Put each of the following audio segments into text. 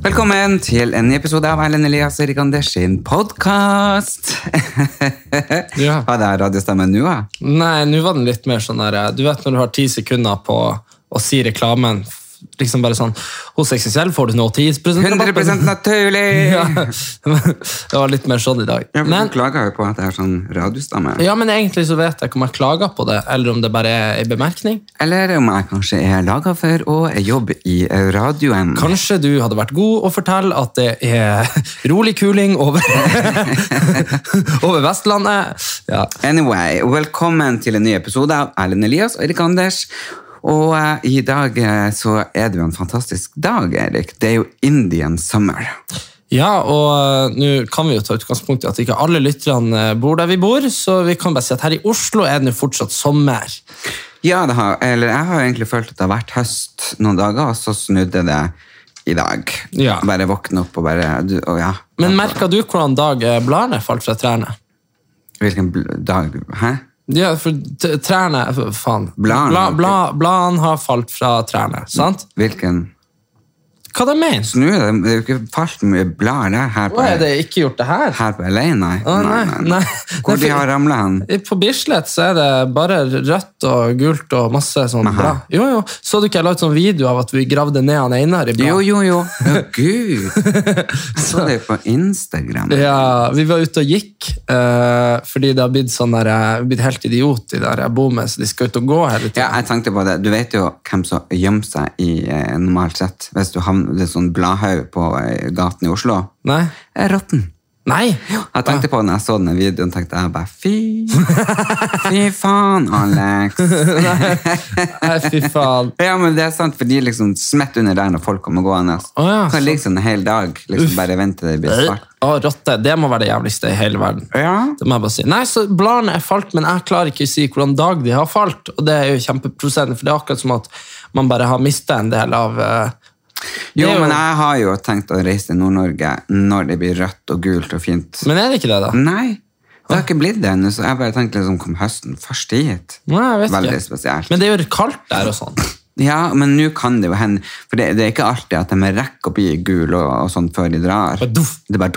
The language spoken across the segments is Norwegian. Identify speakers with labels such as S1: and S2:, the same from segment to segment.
S1: Velkommen til en ny episode av Erlend Elias og Erik Anders sin podkast.
S2: Ja.
S1: Har jeg radiostemmen nå? Ja?
S2: Nei, nå var den litt mer sånn der Du vet når du har ti sekunder på å si reklamen f- Liksom bare sånn Hos XXL får du nå 10
S1: 100 naturlig!
S2: ja. Det var litt mer sånn i dag.
S1: Ja, for
S2: Men,
S1: Du klager jo på at jeg er sånn radiostamme.
S2: ja, men egentlig så vet jeg ikke om jeg klager på det, eller om det bare er en bemerkning.
S1: Eller om jeg kanskje er laga for å jobbe i radioen.
S2: Kanskje du hadde vært god å fortelle at det er rolig kuling over, over Vestlandet. Ja.
S1: Anyway, velkommen til en ny episode av Erlend Elias og Erik Anders. Og eh, i dag eh, så er det jo en fantastisk dag, Erik. Det er jo Indian summer.
S2: Ja, og eh, nå kan vi jo ta utgangspunkt i at ikke alle lytterne eh, bor der vi bor, så vi kan bare si at her i Oslo er det nå fortsatt sommer.
S1: Ja, det har, eller jeg har jo egentlig følt at det har vært høst noen dager, og så snudde det i dag.
S2: Ja.
S1: Bare våkne opp og bare du, Å ja.
S2: Men merka du hvordan Dag eh, bladene falt fra trærne?
S1: Hvilken bl- dag Hæ?
S2: Ja, for t trærne f- Faen.
S1: Bladene.
S2: Bla, bla, bladene har falt fra trærne, sant?
S1: Hvilken
S2: Hva de mener
S1: Snu det, det er jo ikke falt mye blader her på
S2: Hva er det ikke gjort det her?
S1: Her på LA, nei.
S2: Å, nei, nei.
S1: Hvor
S2: Nei,
S1: de
S2: for-
S1: har ramla hen?
S2: På Bislett så er det bare rødt og gult og masse sånn blad. Jo, jo. Så du ikke jeg la ut sånn video av at vi gravde ned han Einar i blad?
S1: Jo, jo, jo. Å, gud! Jeg så det jo på Instagram.
S2: Ja, vi var ute og gikk, eh, fordi det har blitt sånn der, jeg har blitt helt idiot i der jeg bor med, så de skal ut og gå hele
S1: Ja,
S2: tiden.
S1: jeg tenkte på det. Du vet jo hvem som gjemmer seg i eh, normalt sett hvis du havner det er sånn bladhaug på eh, gaten i Oslo.
S2: Nei?
S1: Eh, Rotten.
S2: Nei?
S1: Jeg tenkte på når jeg så denne videoen, tenkte jeg bare fy Fy faen, Alex.
S2: Nei, fy faen.
S1: Ja, men det er sant, for de er liksom smett under der når folk kommer gående.
S2: Å, ja,
S1: kan ligge sånn en hel dag, liksom bare vente til det blir svart.
S2: Å, rotte, det må være det jævligste i hele verden.
S1: Ja.
S2: Det må jeg bare si. Nei, så bladene er falt, men jeg klarer ikke å si hvordan dag de har falt, og det er jo kjempeprosentet, for det er akkurat som at man bare har mistet en del av... eh, det
S1: Jo,
S2: er
S1: men jeg har jo tenkt å reise til Nord-Norge når det blir rødt og gult og fint.
S2: Men er det ikke det da?
S1: Nei, det har ikke blitt det ennå, så jeg bare tenkte liksom, kom høsten først hit?
S2: Nei, jeg vet
S1: Veldig
S2: ikke.
S1: spesielt.
S2: Men det er jo kaldt der og sånn.
S1: Ja, men nå kan det jo hende, for det, det er ikke alltid at de rekker å bli gule og, og sånn før de drar.
S2: Bare duff.
S1: Det er bare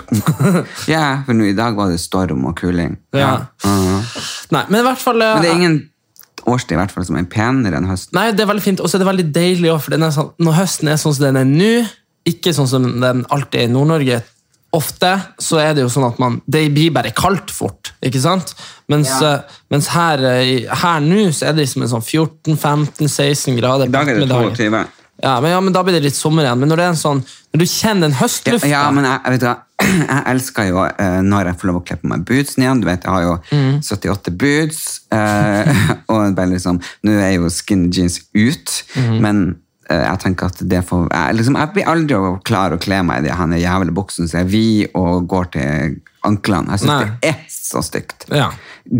S1: dunk. Ja, for nå i dag var det storm og kuling.
S2: Ja. Nei, men i hvert fall...
S1: Mhm.
S2: eh,
S1: Men det er ingen årstid i hvert fall som er penere enn høsten.
S2: Nei, det er veldig fint, og så er det veldig deilig også, for den er sånn, når høsten er sånn som den er nå, ikke sånn som den alltid er i Nord-Norge, ofte, så er det jo sånn at man, det blir bare kaldt fort, ikke sant? Mens, eh, mens her, eh, i- her nå, så er det liksom en sånn 14, 15, 16 grader.
S1: I dag er det
S2: på ettermiddagen.
S1: 22.
S2: Ja, men, ja, men da blir det litt sommer igjen. Men når det er en sånn, når du kjenner den
S1: Ja,
S2: høstluften,
S1: ja, men jeg, jeg vet du hva, jeg elsker jo eh, når jeg får lov å kle på meg bootsen igjen. Du vet, jeg har jo 78 boots, eh, og bare liksom, nå er jo skinny jeans ut, men eh, jeg tenker at det får... Jeg, liksom, jeg blir aldri å klare å kle meg i de her jævla buksene som er vi og går til anklene. Jeg synes
S2: Nei.
S1: det er så stygt.
S2: Ja.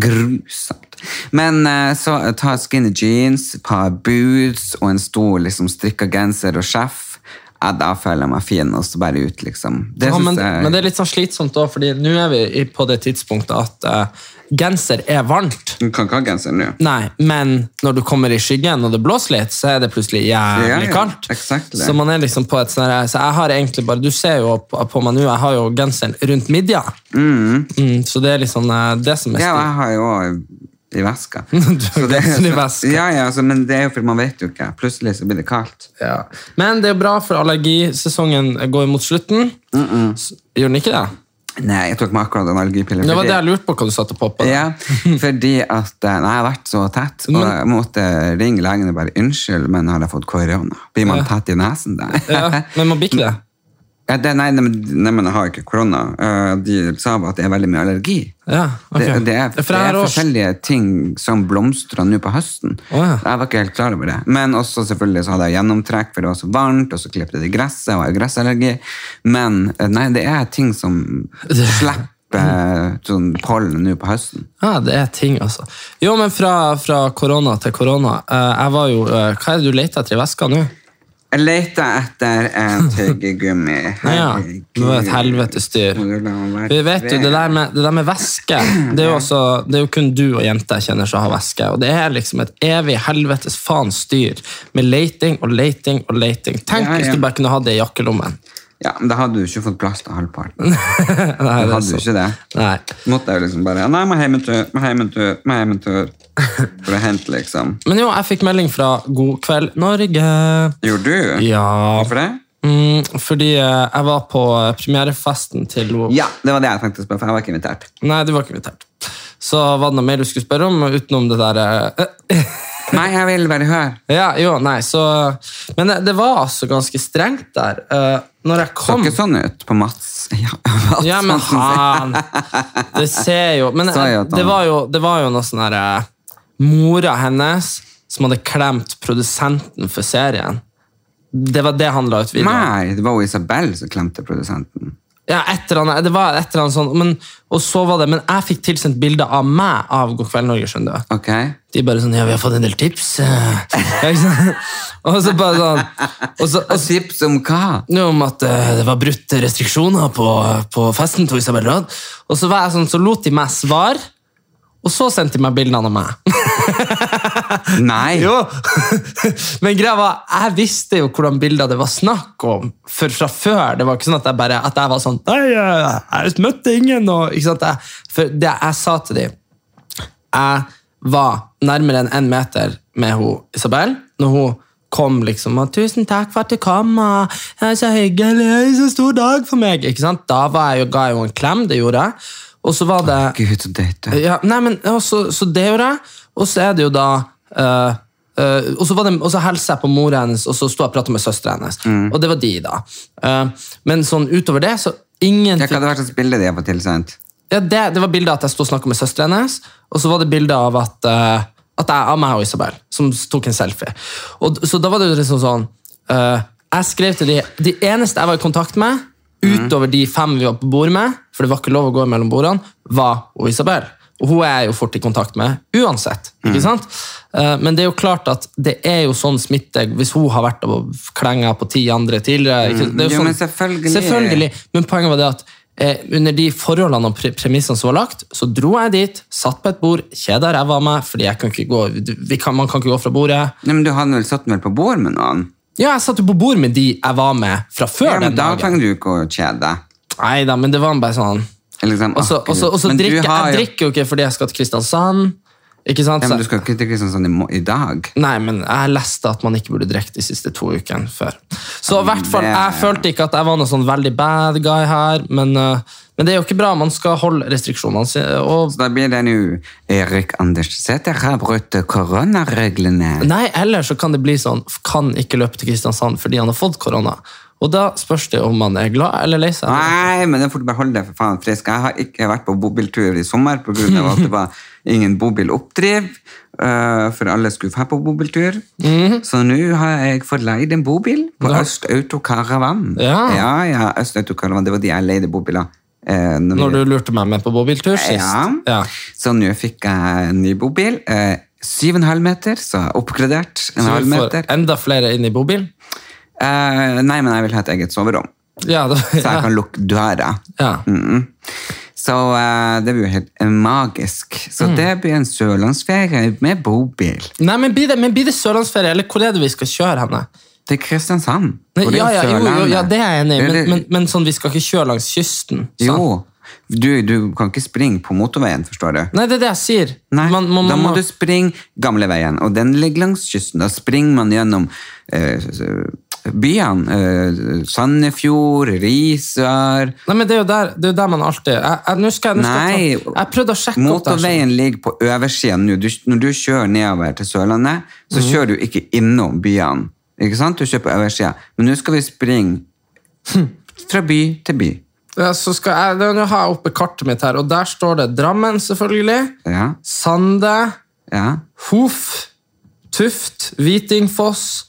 S1: Grusomt. Men eh, så ta skinny jeans, et par boots og en stor liksom, strikka genser og sjef. Ja, da føler jeg meg fin, og så bare ut, liksom. Det
S2: ja,
S1: synes
S2: men,
S1: jeg...
S2: men det er litt sånn slitsomt da, fordi nå er vi i- på det tidspunktet at eh, genser er varmt.
S1: Du kan ikke ha genser nå.
S2: Nei, men når du kommer i skyggen og det blåser litt, så er det plutselig jævlig
S1: Ja, ja,
S2: kaldt.
S1: exactly.
S2: Så man er liksom på et sånn her- Så jeg har egentlig bare Du ser jo på, på meg nå, jeg har jo genseren rundt midja. Mm, så det er liksom eh, det som er
S1: Ja, og
S2: stil.
S1: jeg har jo i veska.
S2: Du har
S1: Så det-
S2: genseren i veska.
S1: Ja, ja, altså, men det er jo fordi man vet jo ikke. Plutselig så blir det kaldt.
S2: Ja. Men det er bra, for allergisesongen går mot slutten. S- Gjør den ikke det?
S1: Nei, jeg tok meg akkurat en allergipille.
S2: Det var
S1: fordi-
S2: det jeg lurte på hva du satt og poppa.
S1: Ja, fordi at eh, Nei, jeg har vært så tett, og jeg måtte ringe legen og bare unnskyld, men har jeg fått korona? Blir man tett i nesen da?
S2: Ja, men man blir ikke det.
S1: Ja, det, nei, nei, men- nei, men jeg har ikke korona. Eh, De sa bare at det er veldig mye allergi.
S2: Ja, ok.
S1: Det, det er, det
S2: for jeg
S1: er
S2: har også-
S1: forskjellige ting som blomstrer nå på høsten.
S2: Å, ja.
S1: Jeg var ikke helt klar over det. Men også selvfølgelig så hadde jeg gjennomtrekk, for det var så varmt, og så klippet det gresset, og jeg har gressallergi. Men eh, nei, det er ting som slipper sånn pollen nå på høsten.
S2: Ja, det er ting, altså. Jo, men fra, fra korona til korona. eh, jeg var jo, eh, Hva er det du leter etter i veska nå?
S1: Jeg leter etter en tyggegummi.
S2: Ja, det var et helvetes dyr.
S1: Må du la meg
S2: Vi vet jo, Det der med, det der med væske det er, jo altså, det er jo kun du og jenter jeg kjenner som har væske. Og det er liksom et evig helvetes faens dyr med leiting og leiting og leiting. Tenk
S1: Ja, ja.
S2: hvis du bare kunne ha det i jakkelommen.
S1: Ja, men da hadde du ikke fått plass til halvparten.
S2: Nei,
S1: Du
S2: det er
S1: hadde jo
S2: sant.
S1: ikke det.
S2: Nei.
S1: Måtte jeg jo liksom bare Nei, må hjem en tur, må hjem en tur, må hjem en tur. For å hente, liksom.
S2: Men jo, jeg fikk melding fra God kveld Norge.
S1: Gjorde du?
S2: Ja
S1: Hvorfor det?
S2: mm, Fordi eh, jeg var på eh, premierefesten til Lo-
S1: Ja, det var det jeg tenkte å spørre, for jeg var ikke invitert.
S2: Nei, du var ikke invitert. Så var det noe mer du skulle spørre om utenom det der eh,
S1: Nei, jeg vil bare høre.
S2: Ja, jo, nei, så Men det, det var altså ganske strengt der. Eh, når jeg
S1: Så
S2: kom
S1: ikke sånn ut på Mats. Ja, Mats
S2: Ja, men
S1: Hansen sin.
S2: han Det ser jo Men
S1: Sa jo at han-
S2: det var jo, det var jo noe sånn herre Mora hennes som hadde klemt produsenten for serien. Det var det han la ut video om.
S1: Nei, det var jo Isabel som klemte produsenten.
S2: Ja, et eller annet, det var et eller annet sånn, men, og så var det, men jeg fikk tilsendt bilder av meg av God kveld Norge, skjønner du.
S1: Ok?
S2: De bare sånn, ja, vi har fått en del tips. eh. Ja, ikke sant? og så bare sånn, og så, og
S1: Og tips om hva?
S2: noe om at eh, det var brutt restriksjoner på, på festen til Isabel Rød. Og så, var jeg sånn, så lot de meg svar, og så sendte de meg bildene av meg.
S1: Nei.
S2: Jo. Men greia var, jeg visste jo hvordan bilder det var snakk om, for fra før. Det var ikke sånn at jeg bare at jeg var sånn Nei, jeg, jeg møtte ingen, og ikke sant? Jeg, for det jeg sa til dem Jeg var nærmere enn en meter med hun, Isabel, når hun kom liksom og 'Tusen takk for at du kom', og 'Det er så hyggelig, det er så stor dag for meg'. Ikke sant? Da var jeg jo, ga jeg jo en klem, det gjorde jeg. Og så var det
S1: Gud, så døyt du.
S2: ja, nei, men ja, så- Så det gjorde jeg, og så er det jo da eh, eh, og, så var det, og så hilser jeg på mora hennes, og så sto jeg og prata med søstera hennes.
S1: Mm.
S2: Og det var de, da. Eh, men sånn utover det, så ingen
S1: Ja, hva hadde vært slags bilde de har fått tilsendt?
S2: ja, det, det var bildet av at jeg sto og snakka med søstera hennes, og så var det bildet av at, eh, at jeg, av meg og Isabel, som tok en selfie. Og, d- så da var det jo liksom sånn eh, Jeg skrev til de, de eneste jeg var i kontakt med, utover de fem vi var på bord med, for det var ikke lov å gå mellom bordene, var og Isabel. Og hun er jeg jo fort i kontakt med uansett. ikke
S1: Mm.
S2: sant? Eh, Men det er jo klart at det er jo sånn smitte hvis hun har vært og klenga på ti andre tidligere. Ikke? Det er jo
S1: Jo,
S2: sånn,
S1: men selvfølgelig.
S2: selvfølgelig. Men poenget var det at eh, under de forholdene og pre premissene som var lagt, så dro jeg dit, satt på et bord, kjeda ræva av meg, fordi jeg kan ikke gå, du- vi kan, man kan ikke gå fra bordet.
S1: Nei, men du hadde vel satt den vel på bord med noen?
S2: Ja, jeg satt jo på bord med de jeg var med fra før
S1: Ja, men
S2: den
S1: da
S2: dagen.
S1: trenger du ikke å kjede deg.
S2: Nei da, men det var bare sånn.
S1: Eller Liksom,
S2: Og så
S1: akkurat.
S2: og så- og så
S1: Men du
S2: drikker
S1: har
S2: jeg
S1: jo-
S2: drikker jo ikke fordi jeg skal til Kristiansand. Ikke sant?
S1: Ja, men
S2: Så-
S1: du skal ikke til Kristiansand i, mo- i dag.
S2: Nei, men jeg leste at man ikke burde drikke de siste to ukene før. Så i hvert fall,
S1: det-
S2: jeg følte ikke at jeg var noen sånn veldig bad guy her, men, eh, men det er jo ikke bra. Man skal holde restriksjonene sine. Og,
S1: Så da blir det nå Erik Anders Sæther har brutt koronareglene.
S2: nei, eller så kan det bli sånn, kan ikke løpe til Kristiansand fordi han har fått korona. Og da spørs det om man er glad eller lei seg.
S1: Nei, men det får du bare holde deg for faen frisk. Jeg har ikke vært på bobiltur i sommer på grunn av at det var ingen bobiloppdriv, øh, for alle skulle få på bobiltur. Så nå har jeg fått leid en bobil på
S2: Mhm. Ja.
S1: Øst Autokaravan.
S2: Ja.
S1: ja, ja, Øst Autokaravan, det var de jeg leide bobiler. Eh, når vi-
S2: Når du lurte meg med på bobiltur sist.
S1: Ja.
S2: Ja.
S1: Så nå fikk jeg en ny bobil. Eh, 7,5 meter, så jeg har oppgradert en
S2: Så
S1: halv
S2: vi
S1: meter.
S2: får enda flere inn i bobilen.
S1: Eh, nei, men jeg vil ha et eget soverom,
S2: Ja, det,
S1: så jeg
S2: ja.
S1: kan lukke døra.
S2: ja.
S1: Mm. Så eh, det blir jo helt eh, magisk. Så
S2: Mm.
S1: det blir en sørlandsferie med bobil
S2: Nei, men blir det, men blir det sørlandsferie, eller hvor er det vi skal kjøre henne?
S1: til Kristiansand.
S2: Nei,
S1: for det er
S2: ja, ja, jo, jo,
S1: Sørlandet.
S2: ja, det er jeg enig i, men,
S1: Eller-
S2: men, men sånn, vi skal ikke kjøre langs kysten. sant?
S1: Jo, du, du kan ikke springe på motorveien, forstår du.
S2: Nei, det er det jeg sier.
S1: Nei,
S2: Man- man-
S1: da må
S2: man-
S1: du springe gamleveien, og den ligger langs kysten. Da springer man gjennom eh, s- s- byene. eh, Sandefjord, Risør
S2: Nei, men det er jo der, det er jo der man alltid jeg, jeg, nå skal jeg, nå skal jeg,
S1: Nei,
S2: ta, jeg prøvde å sjekke opp der.
S1: Motorveien ligger på øversiden nå. Du, når du kjører nedover til Sørlandet, så
S2: Mhm.
S1: kjører du ikke innom byene. Ikke sant? Du kjører på øversiden. Men nå skal vi springe
S2: Hm.
S1: fra by til by.
S2: Ja, så skal jeg, det- nå har jeg oppe kartet mitt her, og der står det Drammen, selvfølgelig.
S1: Ja,
S2: Sande,
S1: ja.
S2: Hof, Tuft, Hvitingfoss,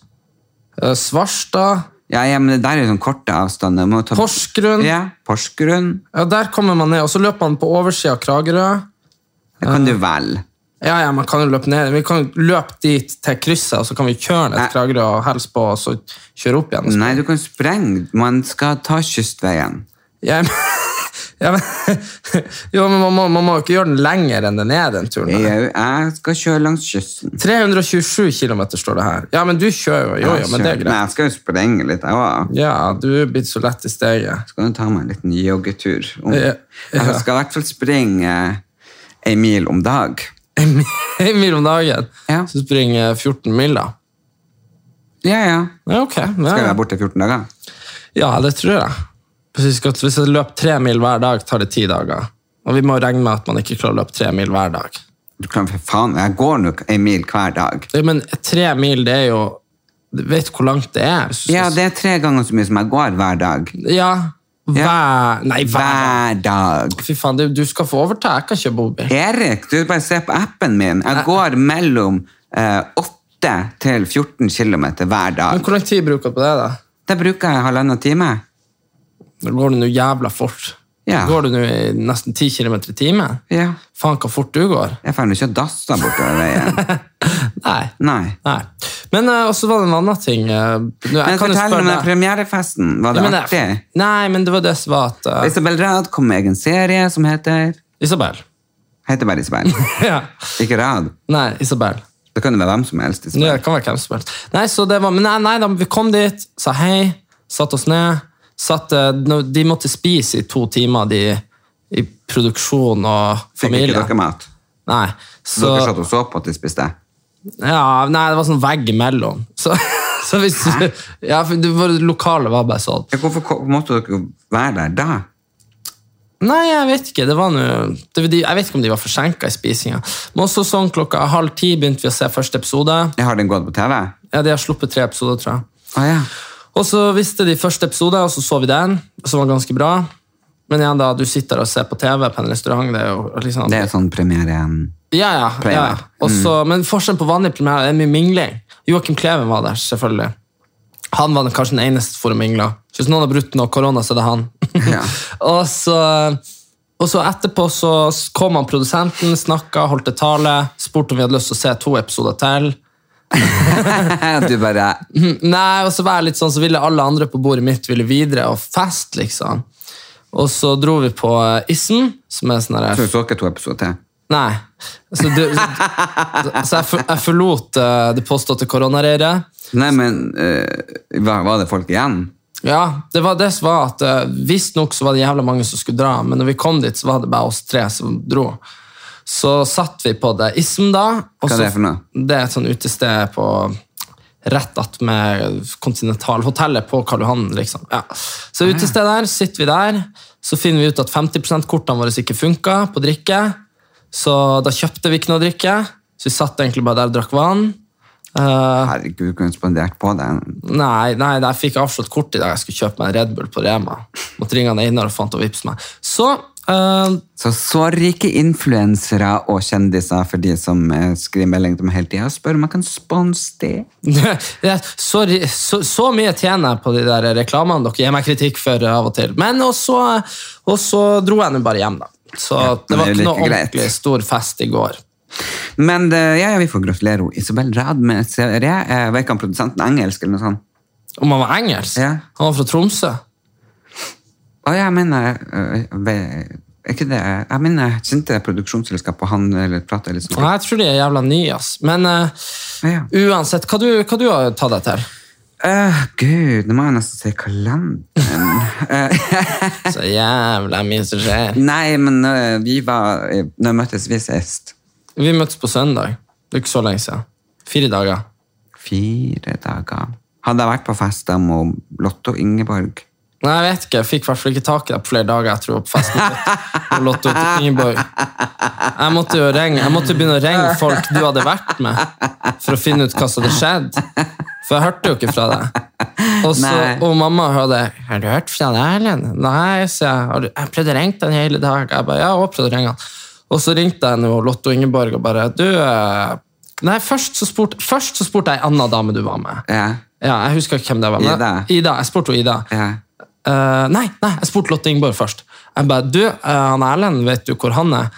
S2: eh, Svarstad,
S1: Ja, ja, men det der er sånn korte avstander. Må ta-
S2: Porsgrunn. Ja.
S1: Ja, Porsgrunn.
S2: der kommer man ned, og så løper man på oversiden av Kragerø.
S1: Det kan du velge.
S2: Ja, ja, man kan jo løpe ned. Vi kan jo løpe dit til krysset, og så kan vi kjøre ned
S1: Nei.
S2: til Kragerø og helse på, og så kjøre opp igjen.
S1: Nei, du kan sprenge. Man skal ta kystveien.
S2: Ja, men- ja, men, jo, men man må, man må jo ikke gjøre den lenger enn den er, den turen. der.
S1: Jeg, jeg skal kjøre langs kysten.
S2: 327 km står det her. Ja, men du kjører jo. Jo, jo, men det er
S1: Men
S2: greit.
S1: jeg skal jo sprenge litt. Jeg også.
S2: Ja, du er blitt så lett i steget.
S1: skal du ta meg en liten joggetur. Om,
S2: Ja, ja.
S1: Jeg skal i hvert fall springe en mil om dag.
S2: En mil om dagen.
S1: Ja.
S2: Så springer jeg 14 mil, da.
S1: Ja, ja.
S2: Ja, ok.
S1: Skal jeg
S2: Ja,
S1: være borte i 14 dager?
S2: ja det tror jeg. Hvis jeg, skal, hvis jeg løper tre mil hver dag, tar det ti dager. Og vi må regne med at man ikke klarer å løpe tre mil hver dag.
S1: Du kan for faen, jeg går nok en mil hver dag.
S2: Ja, Men tre mil, det er jo du Vet hvor langt det er? hvis du
S1: Ja,
S2: skal-
S1: det er tre ganger så mye som jeg går hver dag.
S2: ja. Hver Nei, hver
S1: Hver dag.
S2: Fy faen, du, du skal få overta. Jeg kan kjøre bobil.
S1: Erik, du bare se på appen min. Jeg går mellom eh, 8 til 14 kilometer hver
S2: Men
S1: dag.
S2: hvor lang tid bruker du på det, da?
S1: Da bruker jeg halvannen time.
S2: Da går du nå jævla fort.
S1: Ja.
S2: Går du nå i nesten 10 km i timen?
S1: Ja.
S2: Faen, hva fort du går.
S1: Jeg får jo ikke dassa bortover veien.
S2: Nei.
S1: Nei.
S2: Nei. Men uh, også var det en annen ting. eh, nå, jeg
S1: Men
S2: kan jo
S1: fortell
S2: spørre
S1: om den
S2: deg-
S1: premierefesten. Var
S2: Ja,
S1: det
S2: men det-
S1: artig?
S2: Nei, men det var det som var at eh,
S1: Isabel Rad kom med egen serie som heter
S2: Isabel.
S1: Heter bare Isabel.
S2: ja.
S1: Ikke Rad.
S2: Nei, Isabel.
S1: Det kan jo være hvem som helst.
S2: Nå,
S1: Isabel.
S2: Det kan være hvem som helst. Nei, så det var, men nei, nei da, vi kom dit, sa hei, satt oss ned. Satt, eh, nå- de måtte spise i to timer, de, i produksjon og
S1: Fikk ikke
S2: familie.
S1: dere mat?
S2: Nei, så,
S1: Dere satt og så på at de spiste?
S2: ja, nei, det var sånn vegg imellom. Så, så hvis du, ja, for det var, lokalet var bare sånn.
S1: Ja, Hvorfor ko- måtte dere være der da?
S2: Nei, jeg vet ikke. Det var noe, det, var de- jeg vet ikke om de var forsinka i spisinga. Men også sånn klokka halv ti begynte vi å se første episode.
S1: Jeg har den gått på TV? Å
S2: Ja, De har sluppet tre episoder, tror jeg.
S1: ja.
S2: Og så visste de første episode, og så så vi den, som var ganske bra. Men igjen da, du sitter og ser på TV på en restaurant, det er jo liksom...
S1: Det er sånn premiere igjen.
S2: Ja, ja. ja, ja.
S1: Premiere.
S2: Og så- Men forskjellen på vanlig premiere det er mye mingling. Joakim Kleven var der, selvfølgelig. Han var den, kanskje den eneste for å mingle. Så Hvis noen har brutt noe korona, så er det han.
S1: Ja.
S2: og, så, og så etterpå så kom han produsenten, snakka, holdt et tale, spurte om vi hadde lyst til å se to episoder til.
S1: Du bare
S2: Nei, og så var jeg litt sånn, så ville alle andre på bordet mitt ville videre og fest, liksom. Og så dro vi på eh, Issen, som er sånn
S1: Så
S2: der...
S1: så dere to episoder til?
S2: Nei. Så, du, så jeg, for, jeg forlot eh, det påståtte koronareiret.
S1: Nei, men eh, hva- var det folk igjen?
S2: Ja, det var det som var at uh, Visstnok så var det jævla mange som skulle dra, men når vi kom dit, så var det bare oss tre som dro. Så satt vi på det Ism, da. og
S1: Hva er
S2: så-
S1: det for noe?
S2: Det er et sånn utested på rett attmed Kontinentalhotellet på Karl Johan, liksom. Ja. Så
S1: Ah,
S2: utested der, sitter vi der, så finner vi ut at 50 kortene våre ikke funka på drikke, så da kjøpte vi ikke noe å drikke, så vi satt egentlig bare der og drakk vann. Eh,
S1: Herregud, kunne du spandert på den?
S2: Nei, nei, jeg fikk avslått kort i dag. Jeg skulle kjøpe meg en Red Bull på Rema. Måtte ringe han Einar og fant å vippse meg. Så eh,
S1: Så sorry ikke influensere og kjendiser for de som eh, skriver melding til meg hele tida og spør om jeg kan sponse det.
S2: jeg- Sorry. Så, så mye tjener jeg på de der reklamene dere gir meg kritikk for av og til. Men og så, og så dro jeg nå bare hjem, da. Så det
S1: men
S2: var
S1: det er
S2: ikke
S1: jo
S2: noe
S1: like greit.
S2: ordentlig stor fest i går.
S1: Men det, ja, ja, vi får gratulere henne. Isabel Rad med en serie. Eh, Var ikke han produsenten engelsk eller noe sånt?
S2: Om han var engelsk?
S1: Ja.
S2: Han var fra Tromsø?
S1: Å, jeg mener eh, ve- er ikke det, jeg mener, jeg kjente det produksjonsselskapet han eller pratet litt sånn.
S2: Nei, jeg tror de er jævla nye, ass. Men eh,
S1: Ja.
S2: uansett, hva du, hva du har tatt deg til?
S1: Åh, Gud, nå må jeg nesten se kalenderen.
S2: Så jævla mye som skjer.
S1: Nei, men eh, vi var, eh, nå møttes vi sist.
S2: Vi møttes på søndag. Det er ikke så lenge siden. Fire dager.
S1: Fire dager. Hadde jeg vært på fest da med Lotto Ingeborg
S2: Nei, jeg vet ikke. Jeg fikk i hvert fall ikke tak i det på flere dager etter hun var på fest med Lotto- med Lotto til Ingeborg. Jeg måtte jo ringe. Jeg måtte begynne å ringe folk du hadde vært med, for å finne ut hva som hadde skjedd. For jeg hørte jo ikke fra deg. Og, så,
S1: Nei.
S2: og mamma hørte 'Har du hørt fra deg, Erlend?' 'Nei', sa jeg. Har du, 'Jeg prøvde å ringe den hele dag.' Jeg bare, ja, jeg har prøvd å ringe han. Og så ringte jeg nå Lotto Ingeborg og bare 'Du eh, Nei, først så spurte først så spurte jeg ei anna dame du var med.
S1: Ja.
S2: Ja, jeg husker ikke hvem det var. men-
S1: Ida.
S2: Ida, Jeg spurte jo Ida.
S1: ja.
S2: Eh, nei, nei, jeg spurte Lotte Ingeborg først. Jeg bare, du, eh, han Erlend, vet du hvor han er?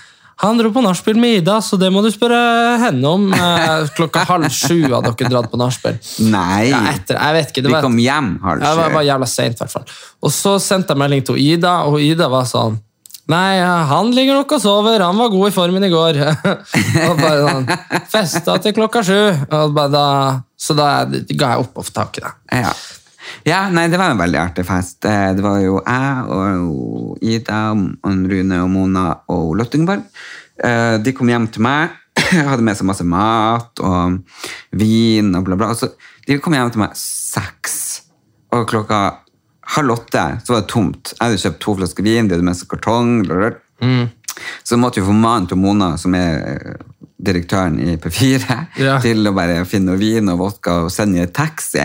S2: Han dro på nachspiel med Ida, så det må du spørre henne om. eh, klokka halv sju hadde dere dratt på nachspiel.
S1: Nei!
S2: Ja, etter, jeg vet ikke. Det
S1: Vi
S2: var et-
S1: kom hjem halv
S2: jeg var, jeg var
S1: sju.
S2: jævla sent, i hvert fall. Og så sendte jeg melding til Ida, og Ida var sånn Nei, han ligger nok og sover. Han var god i formen i går. og bare sånn, Festa til klokka sju. Og bare da, så da ga jeg opp å få tak i det.
S1: Ja. ja, nei, det var en veldig artig fest. Eh, Det var jo jeg og Ida og Rune og Mona og Lotto Ingeborg. Eh, De kom hjem til meg, hadde med seg masse mat og vin og bla, bla. Og så, de kom hjem til meg seks, og klokka halv åtte så var det tomt. Jeg hadde kjøpt to flasker vin, de hadde med seg kartong. Bla, bla. Så måtte vi få mannen til Mona, som er eh, direktøren i P4,
S2: Ja.
S1: til å bare finne noe vin og vodka og sende i en taxi.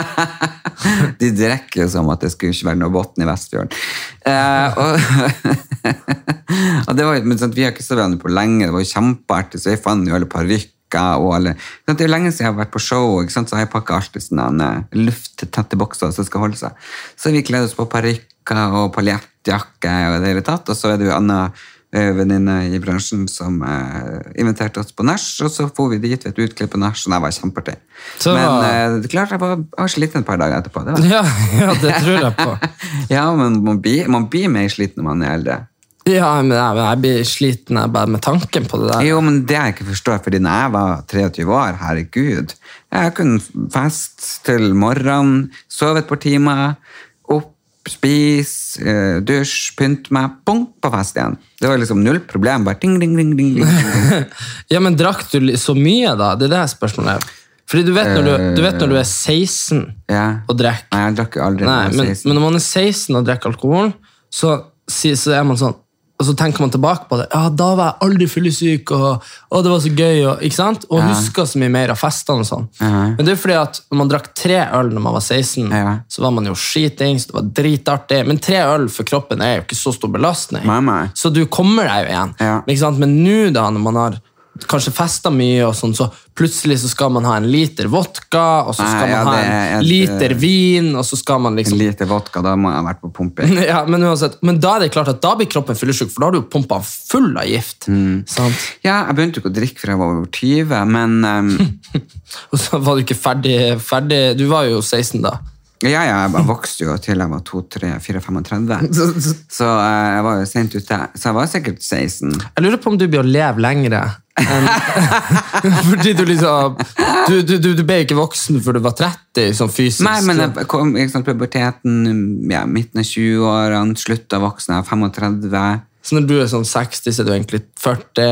S1: De drikker jo som at det skulle ikke være noe bunn i Vestfjorden. Eh, og, og det var, jo- men sant, vi har ikke så hverandre på lenge, det var jo kjempeartig, så jeg fant jo alle parykker og alle sant, Det er jo lenge siden jeg har vært på show, ikke sant, så har jeg pakka alltid sånne eh, lufttette bokser som skal holde seg. Så vi kledde oss på parykker og paljettjakke og det hele tatt, og så er det jo Anna eh, venninne i bransjen som eh, inviterte oss på nach, og så får vi dit ved et utklipp på nach, og det var kjempeartig.
S2: Så
S1: Men
S2: var-
S1: eh, det er klart, jeg var, jeg var sliten et par dager etterpå. Det var.
S2: Ja, ja, det tror jeg på.
S1: Ja, men man blir, man blir mer sliten når man er eldre.
S2: Ja, men jeg, jeg blir sliten jeg, bare med tanken på det der.
S1: Jo, men det jeg ikke forstår, fordi når jeg var 23 år, herregud, jeg kunne fest til morgenen, sove et par timer, opp, spise, eh, dusj, pynte meg, bong, på fest igjen. Det var liksom null problem, bare ding, ding, ding, ding, ding.
S2: Ja, men drakk du li- så mye, da? Det er det spørsmålet er. Fordi du vet når du, du, vet når du er 16
S1: Eh. Ja.
S2: og drikker
S1: Nei, jeg drakk jo aldri
S2: Nei,
S1: når jeg var
S2: men,
S1: 16.
S2: men når man er 16 og drikker alkohol, så, si- så er man sånn og så tenker man tilbake på det. Ja, da var jeg aldri fyllesyk, og, og det var så gøy. Og, ikke sant? og husker så mye mer av festene. og sånn. Men det er fordi at når man drakk tre øl når man var 16,
S1: Ja.
S2: så var man jo skitings, det var dritartig. Men tre øl for kroppen er jo ikke så stor belastning.
S1: Nei, nei.
S2: Så du kommer deg jo igjen.
S1: Ja.
S2: Men, ikke sant? Men nå, da, når man har kanskje festa mye, og sånn, så plutselig så skal man ha en liter vodka, og så
S1: Nei,
S2: skal man
S1: ja,
S2: ha
S1: det
S2: en
S1: er-
S2: liter vin, og så skal man
S1: En
S2: liksom
S1: liter vodka, da må jeg ha vært på pumpe.
S2: ja, men, uansett, men da er det klart at da blir kroppen fyllesyk, for da har du jo pumpa full av gift.
S1: Mm.
S2: Sant?
S1: Ja, jeg begynte jo ikke å drikke før jeg var over 20, men... ehm,
S2: Og så var du ikke ferdig, ferdig Du var jo 16 da.
S1: Ja, ja, jeg bare vokste jo til jeg var 2, 3, 4, 35. Så eh, jeg var jo sent ute. Så jeg var sikkert 16.
S2: Jeg lurer på om du blir å leve lengre. enn- Fordi du liksom du, du, du, du ble ikke voksen før du var 30, sånn fysisk.
S1: Nei, men jeg kom ikke sant, puberteten, ja, midten av 20-årene, slutta voksen, jeg er 35.
S2: Så når du er sånn 60, så er du egentlig 40.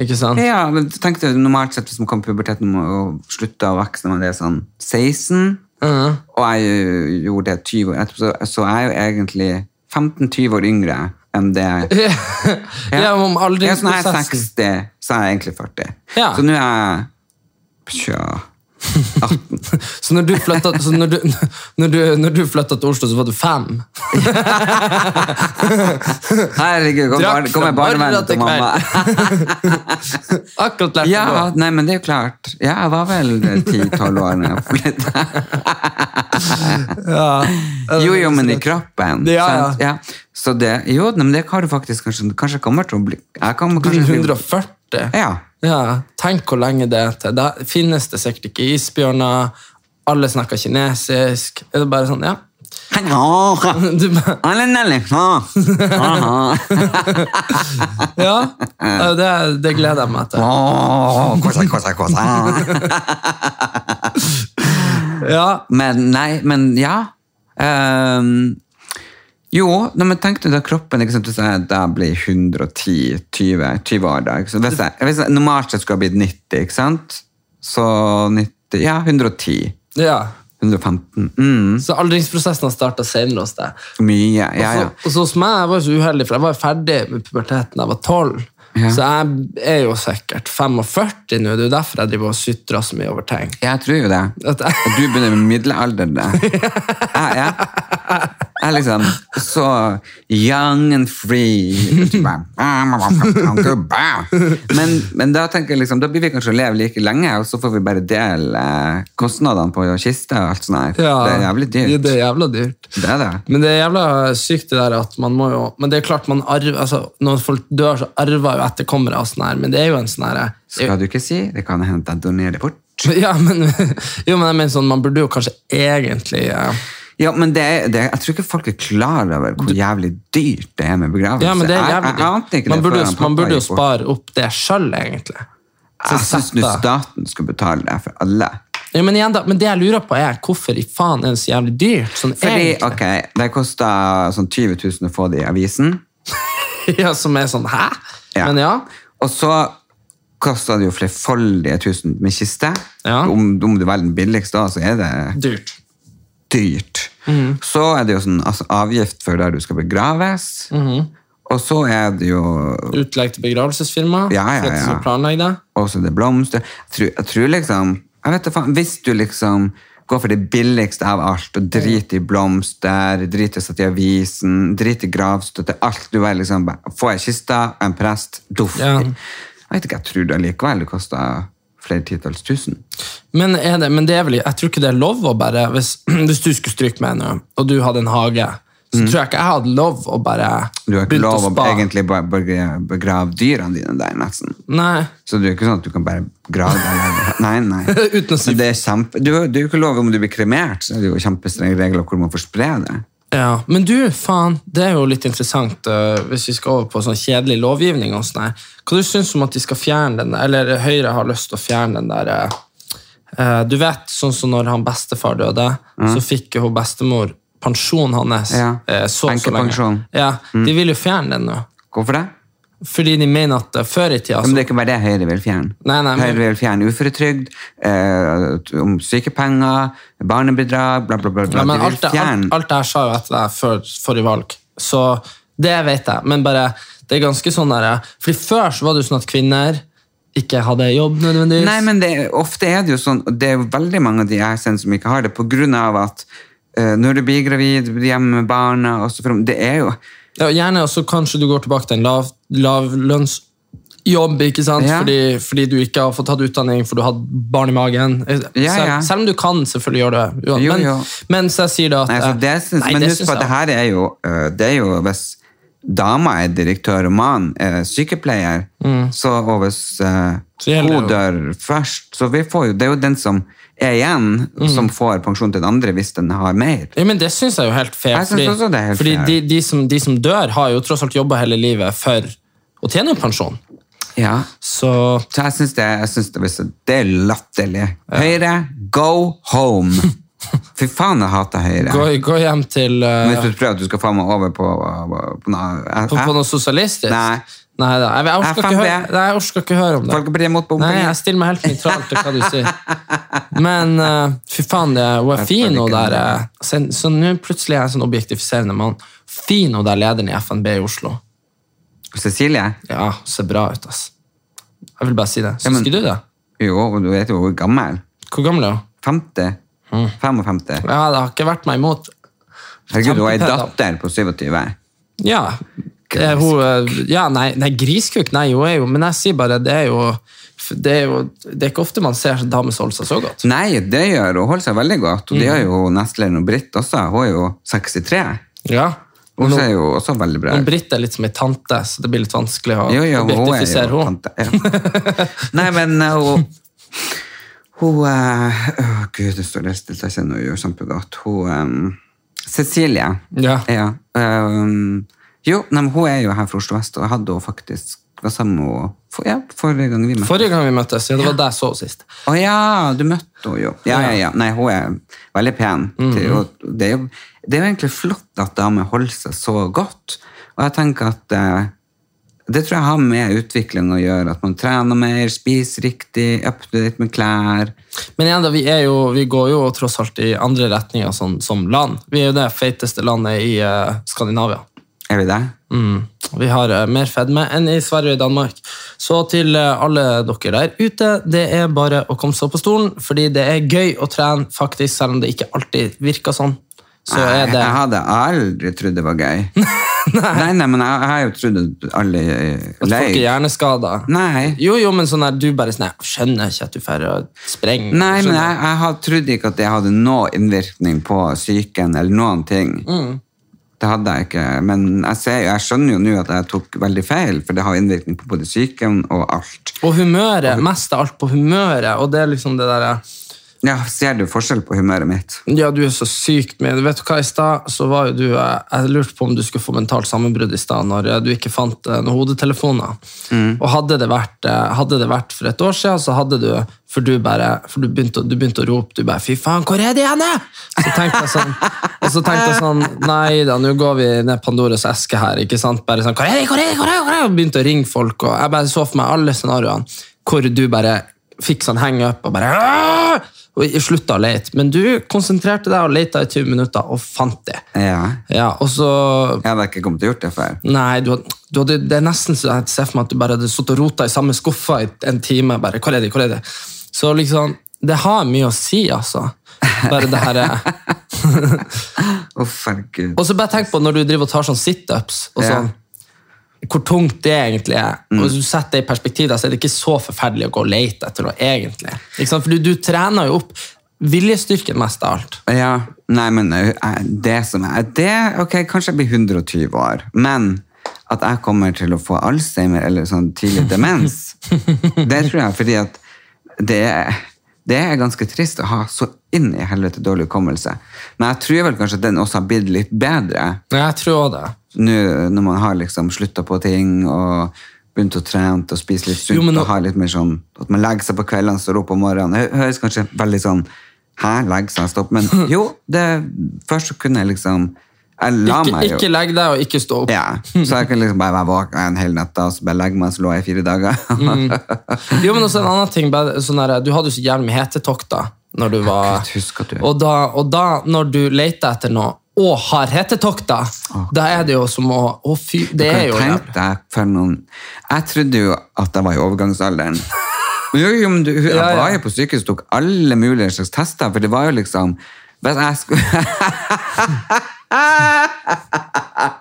S2: Ikke sant?
S1: Ja, men tenk deg normalt sett hvis man kommer i puberteten og slutter å vokse når man er sånn 16,
S2: Mm.
S1: og jeg eh, gjorde det 20 år etterpå, så- så jeg er jeg jo egentlig 15-20 år yngre enn det jeg
S2: Ja, om
S1: Ja, så når jeg er sånn
S2: aldringsprosessen.
S1: 60, så er jeg egentlig 40.
S2: Ja.
S1: Så nå er jeg Tja
S2: Så når du flytta, så når du, når du, når du flytta til Oslo, så var du fem?
S1: Herregud, kom,
S2: Drakk
S1: bar, kom
S2: fra
S1: med barnevernet
S2: morgen til
S1: til mamma.
S2: Akkurat lærte
S1: Ja,
S2: du å gå.
S1: nei, men det er jo klart. Ja, jeg var vel 10-12 år da jeg flytta. Jo, jo, men i kroppen.
S2: Ja,
S1: sant? ja. Så det, jo, nei, men det har du faktisk kanskje Kanskje jeg kommer til å bli Jeg kan kanskje bli-
S2: 140.
S1: Ja.
S2: Ja, Tenk hvor lenge det er til. Da finnes det sikkert ikke isbjørner. Alle snakker kinesisk. Er det bare sånn, ja?
S1: Hallo.
S2: Du, bare-
S1: Alle nelle. Aha.
S2: ja. Ja, Det, det gleder jeg meg til.
S1: Åh, kosa, kosa, kosa.
S2: Ja,
S1: Men nei, men ja. Ehm, jo, nei, men tenk deg da kroppen ikke sant, hvis jeg da blir 110, 20, 20 år da. Ikke sant? Hvis jeg, hvis jeg, normalt sett skulle jeg blitt 90, ikke sant? Så 90, ja, 110.
S2: ja.
S1: 115. Mm,
S2: Så aldringsprosessen har starta senere hos deg.
S1: mye. Ja, ja.
S2: Og så hos meg, jeg var jo så uheldig, for jeg var ferdig med puberteten da jeg var 12.
S1: Ja.
S2: Så jeg er jo sikkert 45 nå, det er jo derfor jeg driver og sytrer så mye over ting.
S1: Jeg tror jo det.
S2: At jeg-
S1: At du begynner med middelalderen. da. Jeg er jeg er liksom så young and free. "Ah, Men, men da tenker jeg liksom, da blir vi kanskje å leve like lenge, og så får vi bare dele eh, kostnadene på kiste og alt sånt. her.
S2: Ja,
S1: det er jævlig
S2: Ja,
S1: dyrt.
S2: Det er jævla dyrt.
S1: Det er det.
S2: Men det er jævla sykt det der at man må jo Men det er klart man arver altså, Når folk dør, så arver jo etterkommere av sånn her, men det er jo en sånn her
S1: Skal du ikke si? Det kan hende at jeg donerer det bort.
S2: ja, men, jo, men jeg mener sånn, man burde jo kanskje egentlig eh,
S1: Ja, men det, er- det, er- jeg tror ikke folk er klar over hvor jævlig dyrt det er med begravelse.
S2: Ja, men det er
S1: Jeg-
S2: jævlig
S1: jeg ante ikke
S2: dyrt. Man
S1: det
S2: burde,
S1: før han
S2: jo-
S1: pappa
S2: man burde jo
S1: gikk bort.
S2: spare opp det sjøl, egentlig. Så
S1: Jeg syns
S2: sett
S1: nå
S2: da.
S1: staten skal betale det for alle.
S2: Ja, men igjen da, men det jeg lurer på, er hvorfor i faen er det så jævlig dyrt? Sånn
S1: Fordi,
S2: egentlig.
S1: ok, Det kosta sånn 20 000 å få det i avisen.
S2: Ja, som er sånn Hæ?
S1: Ja.
S2: Men ja.
S1: Og så kosta det jo flerfoldige tusen med kiste.
S2: Ja.
S1: Om, om du velger den billigste, da, så er det
S2: Dyrt.
S1: dyrt.
S2: Mhm.
S1: Så er det jo sånn altså, avgift for der du skal begraves.
S2: Mhm.
S1: Og så er det jo
S2: Utlegg til begravelsesfirma.
S1: Ja, ja,
S2: for at de skal
S1: ja.
S2: planlegge det.
S1: Og så er det blomster. Jeg tror, jeg tror liksom jeg vet da faen, Hvis du liksom går for det billigste av alt, og driter i blomster, driter i å sette i avisen, driter i gravstøtte Alt du er liksom bare, Får jeg kista, en prest, duft
S2: Ja.
S1: Jeg vet ikke, jeg tror det likevel det koster flere titalls tusen.
S2: Men, er det, men det er vel, jeg tror ikke det er lov å bare Hvis, hvis du skulle stryke meg nå, og du hadde en hage, så tror jeg ikke jeg hadde lov å bare
S1: Mm. Du har ikke
S2: begynne
S1: lov å
S2: spa.
S1: egentlig bare begra- begrave dyrene dine der, nesten.
S2: Nei.
S1: Så det er jo ikke sånn at du kan bare grave deg. Nei, nei.
S2: Uten å si-
S1: Men det er kjempe... Du, det er jo ikke lov om du blir kremert, så er det jo kjempestrenge regler hvor man får spre det.
S2: Ja, Men du, faen, det er jo litt interessant øh, hvis vi skal over på sånn kjedelig lovgivning. og sånn her. Hva du syns om at de skal fjerne den, eller Høyre har lyst til å fjerne den der øh, øh, Du vet, sånn som når han bestefar døde, så fikk jo hun bestemor pensjonen hans.
S1: Mm. Ja,
S2: øh, så, og så lenge.
S1: enkepensjon. Mm.
S2: Ja, De vil jo fjerne den nå.
S1: Hvorfor det?
S2: Fordi de mener at eh, før i tida
S1: Ja, Men det er ikke bare det Høyre vil fjerne.
S2: Nei, nei, men-
S1: Høyre vil fjerne uføretrygd, eh, om sykepenger, barnebidrag, bla, bla, bla. bla.
S2: ja, men
S1: De vil
S2: alt, det-
S1: fjerne.
S2: alt, alt det her sa jo etter deg før forrige valg, så det vet jeg. Men bare, det er ganske sånn der Fordi før så var det jo sånn at kvinner ikke hadde jobb nødvendigvis.
S1: Nei, men det, ofte er det jo sånn, og det er jo veldig mange av de jeg kjenner som ikke har det, på grunn av at eh, når du blir gravid, du blir hjemme med barna, og så frem, det er jo...
S2: ja, gjerne, og så kanskje du går tilbake til en lav, lavlønnsjobb, ikke sant?
S1: Ja.
S2: Fordi, fordi du ikke har fått tatt utdanning, for du hadde barn i magen. Eh,
S1: Ja,
S2: selv,
S1: ja.
S2: selv om du kan selvfølgelig gjøre det. uan-
S1: Jo,
S2: men,
S1: jo.
S2: men så jeg sier det at... eh,
S1: Nei, altså, det syns,
S2: Nei,
S1: men
S2: det
S1: husk
S2: syns
S1: på at
S2: jeg-
S1: det her er jo, øh, det er jo hvis dama er direktør og mannen er sykepleier, så, og hvis øh,
S2: Så gjelder
S1: hun
S2: det jo.
S1: dør først, så vi får jo, det er jo den som er igjen, som får pensjon til den andre hvis den har mer.
S2: Ja, men Det syns jeg er jo helt fair.
S1: Jeg synes også det er helt
S2: fordi
S1: fair.
S2: De, de, som, de som dør, har jo tross alt jobba hele livet for å tjene opp pensjon.
S1: Ja.
S2: Så
S1: Så jeg syns det, jeg synes det, hvis- det er latterlig. Høyre, go home! Fy faen, jeg hater Høyre.
S2: gå, gå hjem til eh,
S1: Hvis du prøver at du skal få meg over på, på, på, noe-
S2: på, på noe sosialistisk.
S1: Nei.
S2: Neida, jeg, jeg, orsker
S1: Jeg
S2: ikke
S1: fant
S2: høre,
S1: det.
S2: nei, jeg orsker ikke høre om det.
S1: Folkepartiet er mot
S2: Nei,
S1: bompenger.
S2: Jeg stiller meg helt nøytral til hva du sier. Men eh, fy faen, det, hun er
S1: Jeg
S2: fin,
S1: føler
S2: hun
S1: ikke
S2: der. eh, Så så nå plutselig er jeg en sånn objektifiserende mann. Fin hun der lederen i FNB i Oslo.
S1: Cecilie?
S2: Ja, ser bra ut, ass. Jeg vil bare si det.
S1: Ja,
S2: Syns
S1: men-
S2: ikke du det?
S1: Jo, og du vet jo hvor gammel.
S2: Hvor gammel er hun?
S1: 50? 55?
S2: Ja, det har ikke vært meg imot.
S1: Herregud, hun er ei
S2: Kjempepent, da.
S1: datter på 27.
S2: Ja, det er hun, eh, ja nei, nei, griskuk, nei, hun er jo Men jeg sier bare, det er jo Det er, jo, det er ikke ofte man ser damer som holder seg så godt.
S1: Nei, det gjør hun. Holder seg veldig godt. Og det gjør jo nestlederen og Britt også. Hun er jo 63.
S2: Ja.
S1: Hun
S2: Nå-
S1: ser jo også veldig bra
S2: Men
S1: ut.
S2: Britt er litt som ei tante, så det blir litt vanskelig å
S1: Jo, jo, hun er
S2: objektifisere
S1: jo
S2: henne.
S1: tante. Ja. Nei, men eh, hun Hun eh, Å, gud, det står helt stille. Jeg kjenner hun gjør kjempegodt. sånn Hun eh, Cecilie.
S2: Ja.
S1: eh, jo, nei, men hun er jo her fra Oslo vest, og jeg hadde hun faktisk var sammen med henne for, ja, forrige gang vi møttes.
S2: Forrige gang vi møttes, ja, det var deg så sist.
S1: Å ja, du møtte henne jo. Ja, ja, ja. Nei, hun er veldig pen.
S2: Mhm.
S1: Det er jo- det, er jo, det er jo egentlig flott at damer holder seg så godt. Og jeg tenker at eh, Det tror jeg har med utvikling å gjøre. At man trener mer, spiser riktig, up to date med klær.
S2: Men igjen, da, vi, er jo, vi går jo tross alt i andre retninger sånn, som land. Vi er jo det feiteste landet i eh, Skandinavia.
S1: Er vi der?
S2: Mm. Vi har eh, mer fedme enn i Sverige og i Danmark. Så til eh, alle dere der ute, det er bare å komme seg opp på stolen, fordi det er gøy å trene, faktisk, selv om det ikke alltid virker sånn. Så
S1: Nei,
S2: er det...
S1: Jeg hadde aldri trodd det var gøy. nei, nei, men jeg, jeg har jo trodd at alle
S2: At folk er
S1: løy.
S2: hjerneskadet.
S1: Nei.
S2: Jo, jo, men sånn der, du bare sånn, jeg skjønner ikke at du får spreng.
S1: Nei, men jeg, jeg har trodd ikke at det hadde noen innvirkning på psyken eller noen ting. Det hadde jeg ikke, men jeg, ser, jo- jeg skjønner jo nå at jeg tok veldig feil, for det har innvirkning på både psyken og alt.
S2: Og humøret, mest av alt på humøret, og det er liksom det der,
S1: Ja, ser du forskjell på humøret mitt?
S2: ja, du er så sykt med, vet du hva, i sted, så var jo du, eh, jeg lurte på om du skulle få mentalt sammenbrudd i sted, når eh, du ikke fant eh, noen hodetelefoner. Og hadde det, vært, eh, hadde det vært for et år siden, så hadde du, for du bare, for du begynte, å- du begynte å rope, du bare, fy faen, hvor er det henne? Så tenkte jeg sånn, og så tenkte jeg sånn, nei da, nå går vi ned Pandoras eske her, ikke sant? Bare sånn, hvor er det, hvor er det, hvor er det, hvor er det? Og begynte å ringe folk, og jeg bare så for meg alle scenarioene, hvor du bare fikk sånn hang-up, og bare, «Aah!» og slutta å lete. Men du konsentrerte deg og leta i 20 minutter, og fant det.
S1: Ja.
S2: Ja, og så...
S1: Jeg hadde ikke kommet til å gjort det før.
S2: Nei, du hadde, du hadde, det er nesten så jeg ser for meg at du bare hadde sittet og rota i samme skuffa i en time. bare, hvor er det, hvor er det? Så liksom, det har mye å si, altså. Bare det her...
S1: Uff, herregud.
S2: Og så bare tenk på når du driver og tar sånn situps og
S1: Ja. Mm.
S2: sånn, hvor tungt det egentlig er. Og hvis du setter det i perspektiv, da, så er det ikke så forferdelig å gå og lete etter noe, egentlig. Ikke sant? For du, du trener jo opp viljestyrken mest av alt.
S1: Ja, nei, men eh, det som er det, Ok, kanskje jeg blir 120 år, men at jeg kommer til å få Alzheimer eller sånn tidlig demens, det tror jeg, fordi at det er, det er ganske trist å ha så inn i helvete dårlig hukommelse. Men jeg tror vel kanskje at den også har blitt litt bedre
S2: Ja, jeg tror også det.
S1: nå når man har liksom slutta på ting og begynt å trene og spise litt sunt
S2: Jo, men nå-
S1: og har litt mer sånn At man legger seg på kveldene og står opp om morgenen. Det høres kanskje veldig sånn Hæ, legger seg, stopp Men jo, det, først så kunne jeg liksom Jeg la
S2: Ikke,
S1: meg jo.
S2: ikke legg deg og ikke stå opp.
S1: Ja, så jeg kunne liksom bare være våken en hel natt da, og så bare legge meg, så lå jeg i fire dager.
S2: Mm. Jo, men også en annen ting, bare sånn der, Du hadde jo så jævlig med hetetokter når du var
S1: Gud, husker du.
S2: Og da, og da når du leter etter noe og har hetetokter, da er det jo som å Å, fy Det er jo
S1: Tenk
S2: jævlig.
S1: deg for noen Jeg trodde jo at jeg var i overgangsalderen. Men jo, jo, men du, jeg
S2: Ja, ja.
S1: var jo på sykehus og tok alle mulige slags tester, for det var jo liksom hvis jeg skulle...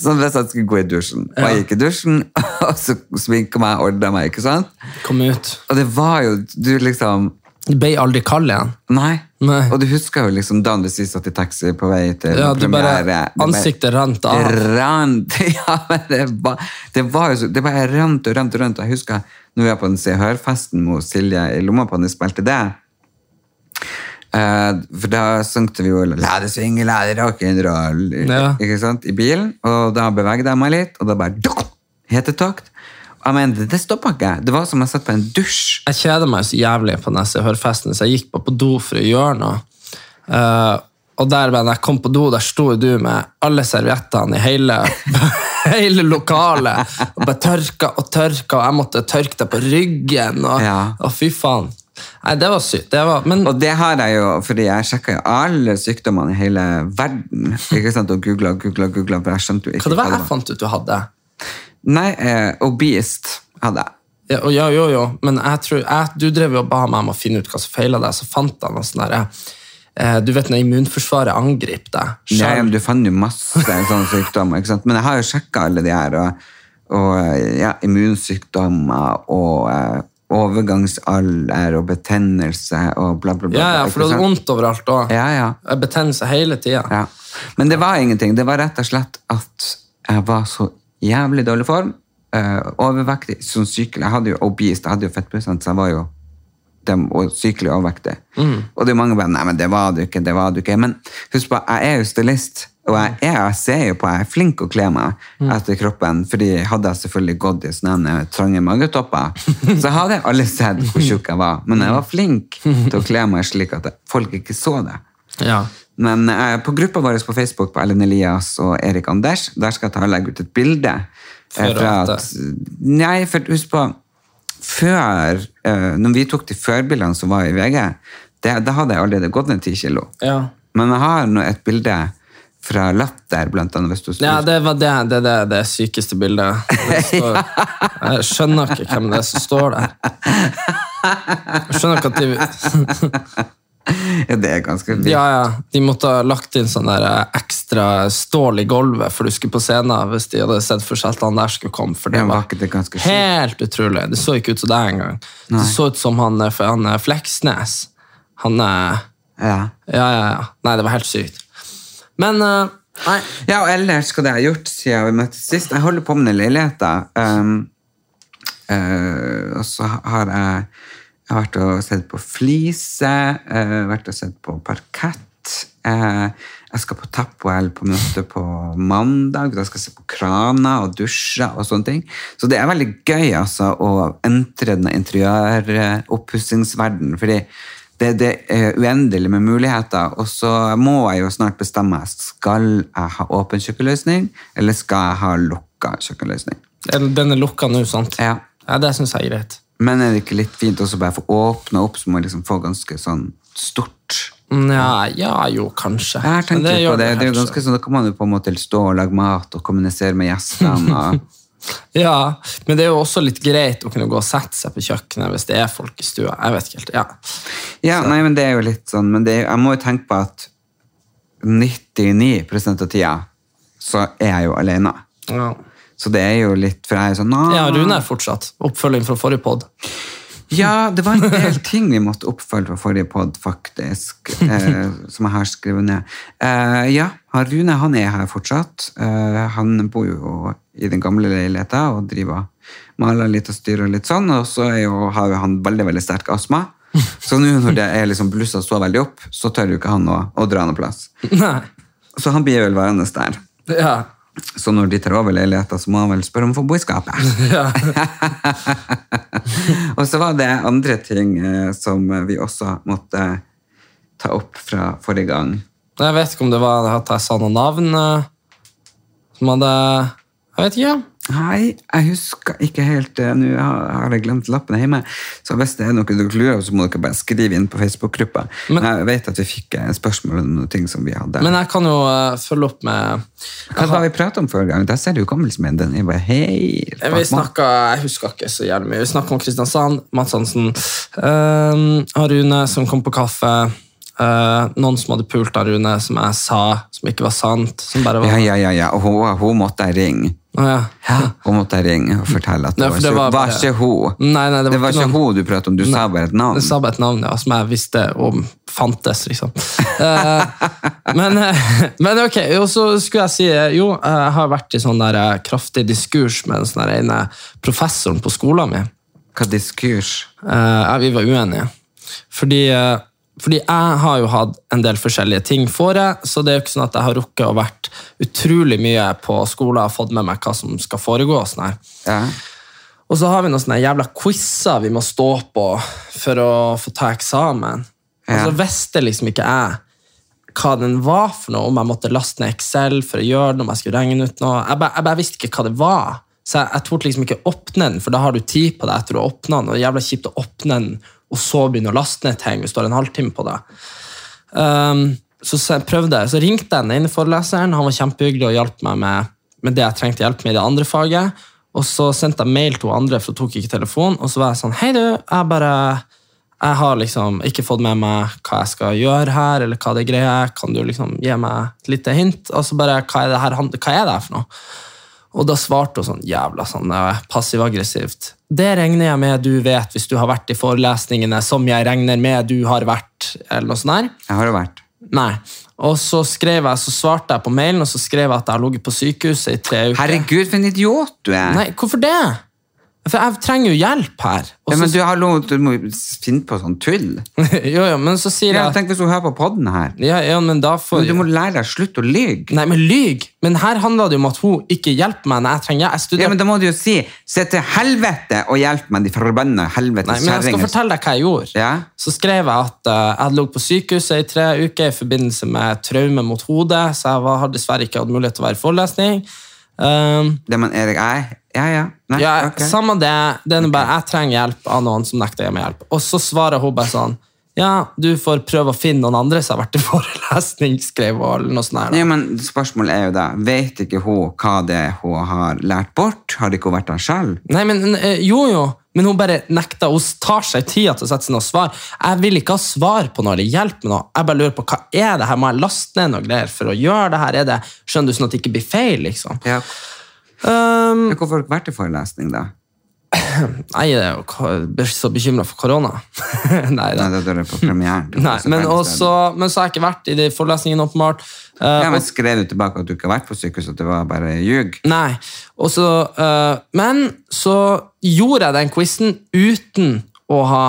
S1: Sånn hvis jeg skulle gå i dusjen. Og jeg gikk i dusjen, og så sminka meg og ordna meg. ikke sant?
S2: Kom ut.
S1: Og det var jo Du liksom
S2: Du ble aldri kald igjen.
S1: Nei.
S2: Nei.
S1: Og du husker jo liksom dagen du sist satt i taxi på vei til
S2: Ja, du bare-
S1: premiere. Det
S2: ansiktet rant av.
S1: Det rant. Ja, men det var, det var jo så Det bare rant og rant og rant. Jeg husker når vi var på den Se og Hør-festen med Silje i lomma på når vi spilte det. Eh, for da søngte vi jo 'La det svinge, la det rock'n'roll'
S2: Ja.
S1: ikke sant, i bilen. Og da beveget jeg meg litt, og da bare dukk, hetetokt. Og Jeg mener, det stoppa ikke. Det var som jeg satt på en dusj.
S2: Jeg kjeder meg så jævlig på den hørfesten, så jeg gikk bare på do for å gjøre noe. Eh, og der bare, når jeg kom på do, der sto du med alle serviettene i hele, hele lokalet. Og bare tørka og tørka, og jeg måtte tørke deg på ryggen. Og,
S1: Ja.
S2: og fy faen. Nei, det var sykt. Det var, men
S1: Og det har jeg jo, fordi jeg sjekka jo alle sykdommene i hele verden. Ikke sant, Og googla og googla, googla, for jeg skjønte jo ikke
S2: hva det var jeg fant ut du hadde?
S1: Nei, eh, obese hadde jeg.
S2: Ja, og ja, jo, jo, men jeg tror, jeg, du drev jo og ba meg om å finne ut hva som feilet deg, så fant jeg noe sånn der, eh, du vet når immunforsvaret angriper deg.
S1: Nei,
S2: Skjær-
S1: men du fant jo masse sånne sykdommer, ikke sant. Men jeg har jo sjekka alle de her, og, og eh, ja, immunsykdommer og eh, overgangsalder og betennelse og bla, bla, bla.
S2: Ja, ja,
S1: bla,
S2: for det
S1: ikke
S2: hadde
S1: sant?
S2: vondt overalt òg.
S1: Ja, ja.
S2: Betennelse hele tida.
S1: Ja. Men det var ingenting. Det var rett og slett at jeg var så jævlig dårlig form. eh, overvektig, sånn sykelig. Jeg hadde jo obese, jeg hadde jo fettprosent, så jeg var jo dem, og sykelig overvektig. Og det er mange bare, nei, men det var du ikke, det var du ikke. Men husk på, jeg er jo stylist, og jeg, er, jeg ser jo på, jeg er flink å kle meg etter kroppen, fordi hadde jeg selvfølgelig gått i sånne trange magetopper, så hadde alle sett hvor tjukk jeg var. Men jeg var flink til å kle meg slik at folk ikke så det.
S2: Ja.
S1: Men eh, på gruppa vår på Facebook på Ellen Elias og Erik Anders, der skal jeg ta og legge ut et bilde Eh,
S2: For
S1: fra
S2: at-
S1: at, nei, for husk på Før eh, Når vi tok de førbildene som var i VG, det, da hadde jeg allerede gått ned ti kilo.
S2: Ja.
S1: Men jeg har nå et bilde fra Latter, blant annet. Hvis du
S2: Ja, det var det, det, det, det sykeste bildet. Det står, jeg skjønner ikke hvem det er som står der. Jeg skjønner ikke at de
S1: Ja, det er ganske vilt.
S2: Ja, ja, de måtte ha lagt inn sånn der eh, ekstra stål i gulvet for du skulle på scenen hvis de hadde sett for seg at han der skulle komme. For det
S1: Ja, var
S2: var
S1: ikke det ganske sjukt?
S2: helt utrolig. Det så ikke ut som deg engang. Det så ut som han, eh, for han eh, Fleksnes. Han eh,
S1: Ja.
S2: Ja, ja, ja. Nei, det var helt sykt. Men eh, Nei.
S1: Ja, og ellers hva det jeg har gjort siden vi møttes sist. Jeg holder på med den leiligheten. Um, eh, og så har jeg, jeg har vært og sett på flise, eh, vært og sett på parkett. Eh, jeg skal på Tappoel på minuttet på mandag. Da skal jeg se på kraner og dusjer og sånne ting. Så det er veldig gøy altså, å entre denne interiøroppussingsverdenen. fordi det, det er uendelig med muligheter, og så må jeg jo snart bestemme skal jeg ha åpen kjøkkenløsning, eller skal jeg ha lukka kjøkkenløsning.
S2: Den den er lukka nå, sant?
S1: Ja.
S2: Ja, det syns jeg er greit.
S1: Men er det ikke litt fint også bare å få åpna opp, så må jeg liksom få ganske sånn stort
S2: Nja, Mm, ja, jo, kanskje.
S1: Jeg har tenkt
S2: Men
S1: litt på
S2: gjør
S1: det. det er jo
S2: kanskje.
S1: ganske sånn, Da kan man jo på en måte stå og lage mat og kommunisere med gjestene. Og,
S2: Ja, men det er jo også litt greit å kunne gå og sette seg på kjøkkenet hvis det er folk i stua. Jeg vet ikke helt, ja.
S1: ja, nei, men det er jo litt sånn, men det er, jeg må jo tenke på at 99 av tida så er jeg jo alene.
S2: ja.
S1: Så det er jo litt For jeg er jo sånn «Nå».
S2: Ja, Rune er fortsatt. Oppfølging fra forrige pod.
S1: Ja, det var en del ting vi måtte oppfølge fra forrige pod, faktisk. Eh, som jeg har skrevet ned. Eh, ja, han Rune han er her fortsatt. Eh, han bor jo i den gamle leiligheta og driver maler litt og styrer litt sånn. Og så er jo, har jo han veldig veldig sterk astma. Så nå når det er liksom blussa så veldig opp, så tør jo ikke han å, å dra noe plass.
S2: Nei.
S1: Så han blir vel værende der.
S2: Ja.
S1: Så når de tar over leiligheten, så må han vel spørre om å få bo i skapet. og så var det andre ting eh, som vi også måtte ta opp fra forrige gang.
S2: Jeg vet ikke om det var at jeg sa noe navn eh, som hadde Jeg vet ikke.
S1: Nei, jeg husker ikke helt eh, Nå har har jeg glemt lappen hjemme. Så hvis det er noe dere lurer på, så må dere bare skrive inn på Facebook-gruppa.
S2: Men-
S1: Men jeg vet at vi fikk eh, spørsmål om noen ting som vi hadde.
S2: Men jeg kan jo eh, følge opp med
S1: Hva var vi pratet om forrige gang? Der ser du hukommelsen min. Den er bare helt
S2: Vi
S1: bak mål.
S2: snakka, jeg husker ikke så jævlig mye. Vi snakka om Kristiansand, Mads Hansen, eh, Rune som kom på kaffe, eh, noen som hadde pult av Rune, som jeg sa, som ikke var sant. Som bare var,
S1: Ja, ja, ja. ja. Og hun, hun måtte jeg ringe.
S2: Å, ja.
S1: Hun måtte jeg ringe og fortelle at det,
S2: Ah. Nei,
S1: var,
S2: for det
S1: ikke,
S2: var
S1: var,
S2: bare-
S1: ikke hun.
S2: Nei, nei, det var
S1: det var
S2: ikke
S1: ikke hun
S2: noen-
S1: du pratet om, du sa bare et navn.
S2: Jeg sa bare et navn ja, som jeg visste om fantes, liksom. Eh, men, eh, men ok, og så skulle jeg si eh, Jo, eh, jeg har vært i sånn der eh, kraftig diskurs med den sånn der ene professoren på skolen min.
S1: Hva diskurs?
S2: Eh, ja, vi var uenige. Fordi, eh, fordi jeg har jo hatt en del forskjellige ting for jeg, så det er jo ikke sånn at jeg har rukket å vært utrolig mye på skolen og fått med meg hva som skal foregå. og Sånn her.
S1: Ja.
S2: Og så har vi noen sånne jævla quizer vi må stå på for å få ta eksamen. Og så
S1: Ja.
S2: visste liksom ikke jeg hva den var for noe, om jeg måtte laste ned Excel for å gjøre det, om jeg skulle regne ut noe. Jeg bare, jeg bare visste ikke hva det var. Så jeg, jeg torde liksom ikke åpne den, for da har du tid på deg etter å åpne den, og det er jævla kjipt å åpne den, og så begynne å laste ned ting, hvis du har en halvtime på deg. Ehm, så se- prøvde jeg, så ringte jeg den ene foreleseren, han var kjempehyggelig og hjalp meg med, med det jeg trengte hjelp med i det andre faget. Og så sendte jeg mail til hun andre, for hun tok ikke telefonen, og så var jeg sånn, hei du, jeg bare, jeg har liksom ikke fått med meg hva jeg skal gjøre her, eller hva det er greia, er. kan du liksom gi meg et lite hint? Og så bare, hva er det her, hand- hva er det her for noe? Og da svarte hun sånn jævla sånn eh, passiv-aggressivt. Det regner jeg med du vet hvis du har vært i forelesningene som jeg regner med du har vært, eller noe sånt der.
S1: Jeg har jo vært.
S2: Nei. Og så skrev jeg, så svarte jeg på mailen, og så skrev jeg at jeg har ligget på sykehuset i tre uker.
S1: Herregud, for en idiot du er!
S2: Nei, hvorfor det? For jeg trenger jo hjelp her. Og
S1: ja, men
S2: så,
S1: du, hallo, du må jo finne på sånn tull.
S2: jo, jo, men så sier
S1: Ja,
S2: jeg
S1: tenk hvis hun hører på podden her.
S2: ja, ja, men da får
S1: Men du må lære deg slutt å lyge.
S2: Nei, men lyg! Men her handla det jo om at hun ikke hjelper meg når jeg trenger hjelp. Jeg
S1: Ja,
S2: studerer
S1: men da må du jo si se til helvete og hjelp meg, de forbanna
S2: Nei,
S1: helvetes
S2: men jeg skal
S1: kjerringer.
S2: fortelle deg hva jeg gjorde.
S1: Ja.
S2: Så skrev jeg at eh, jeg hadde ligget på sykehuset i tre uker i forbindelse med traume mot hodet, så jeg var, har dessverre ikke hatt mulighet til å være i forelesning. Um,
S1: Det man er Nei, ja, ja. Nei,
S2: ja,
S1: ok.
S2: Samme det. Det er nå bare, Jeg trenger hjelp av noen som nekter å gi meg hjelp. Og så svarer hun bare sånn Ja, du får prøve å finne noen andre som har vært i forelesning, skrev hun. eller noe sånt her, da.
S1: Ja, men spørsmålet er jo da, vet ikke hun hva det er hun har lært bort? Har det ikke hun vært der selv?
S2: Nei, men eh, Jo, jo. Men hun bare nekter. Hun tar seg tida til å sette seg ned og svare. Jeg vil ikke ha svar på noe eller hjelp med noe. Jeg bare lurer på hva er det her? Må jeg laste ned noe greier for å gjøre det her? Er det, skjønner du, sånn at det ikke blir feil, liksom?
S1: Ja.
S2: Um,
S1: Hvorfor har hun ikke vært i forelesning da?
S2: nei, jeg er jo ko- så bekymra for korona. nei
S1: Nei,
S2: da.
S1: da dør jeg på premieren.
S2: Nei, men, også, men så har jeg ikke vært i de forelesningene, åpenbart. Eh,
S1: Ja, men skrev du tilbake at du ikke har vært på sykehus, at det var bare ljug?
S2: Nei. Og så, eh, men så gjorde jeg den quizen uten å ha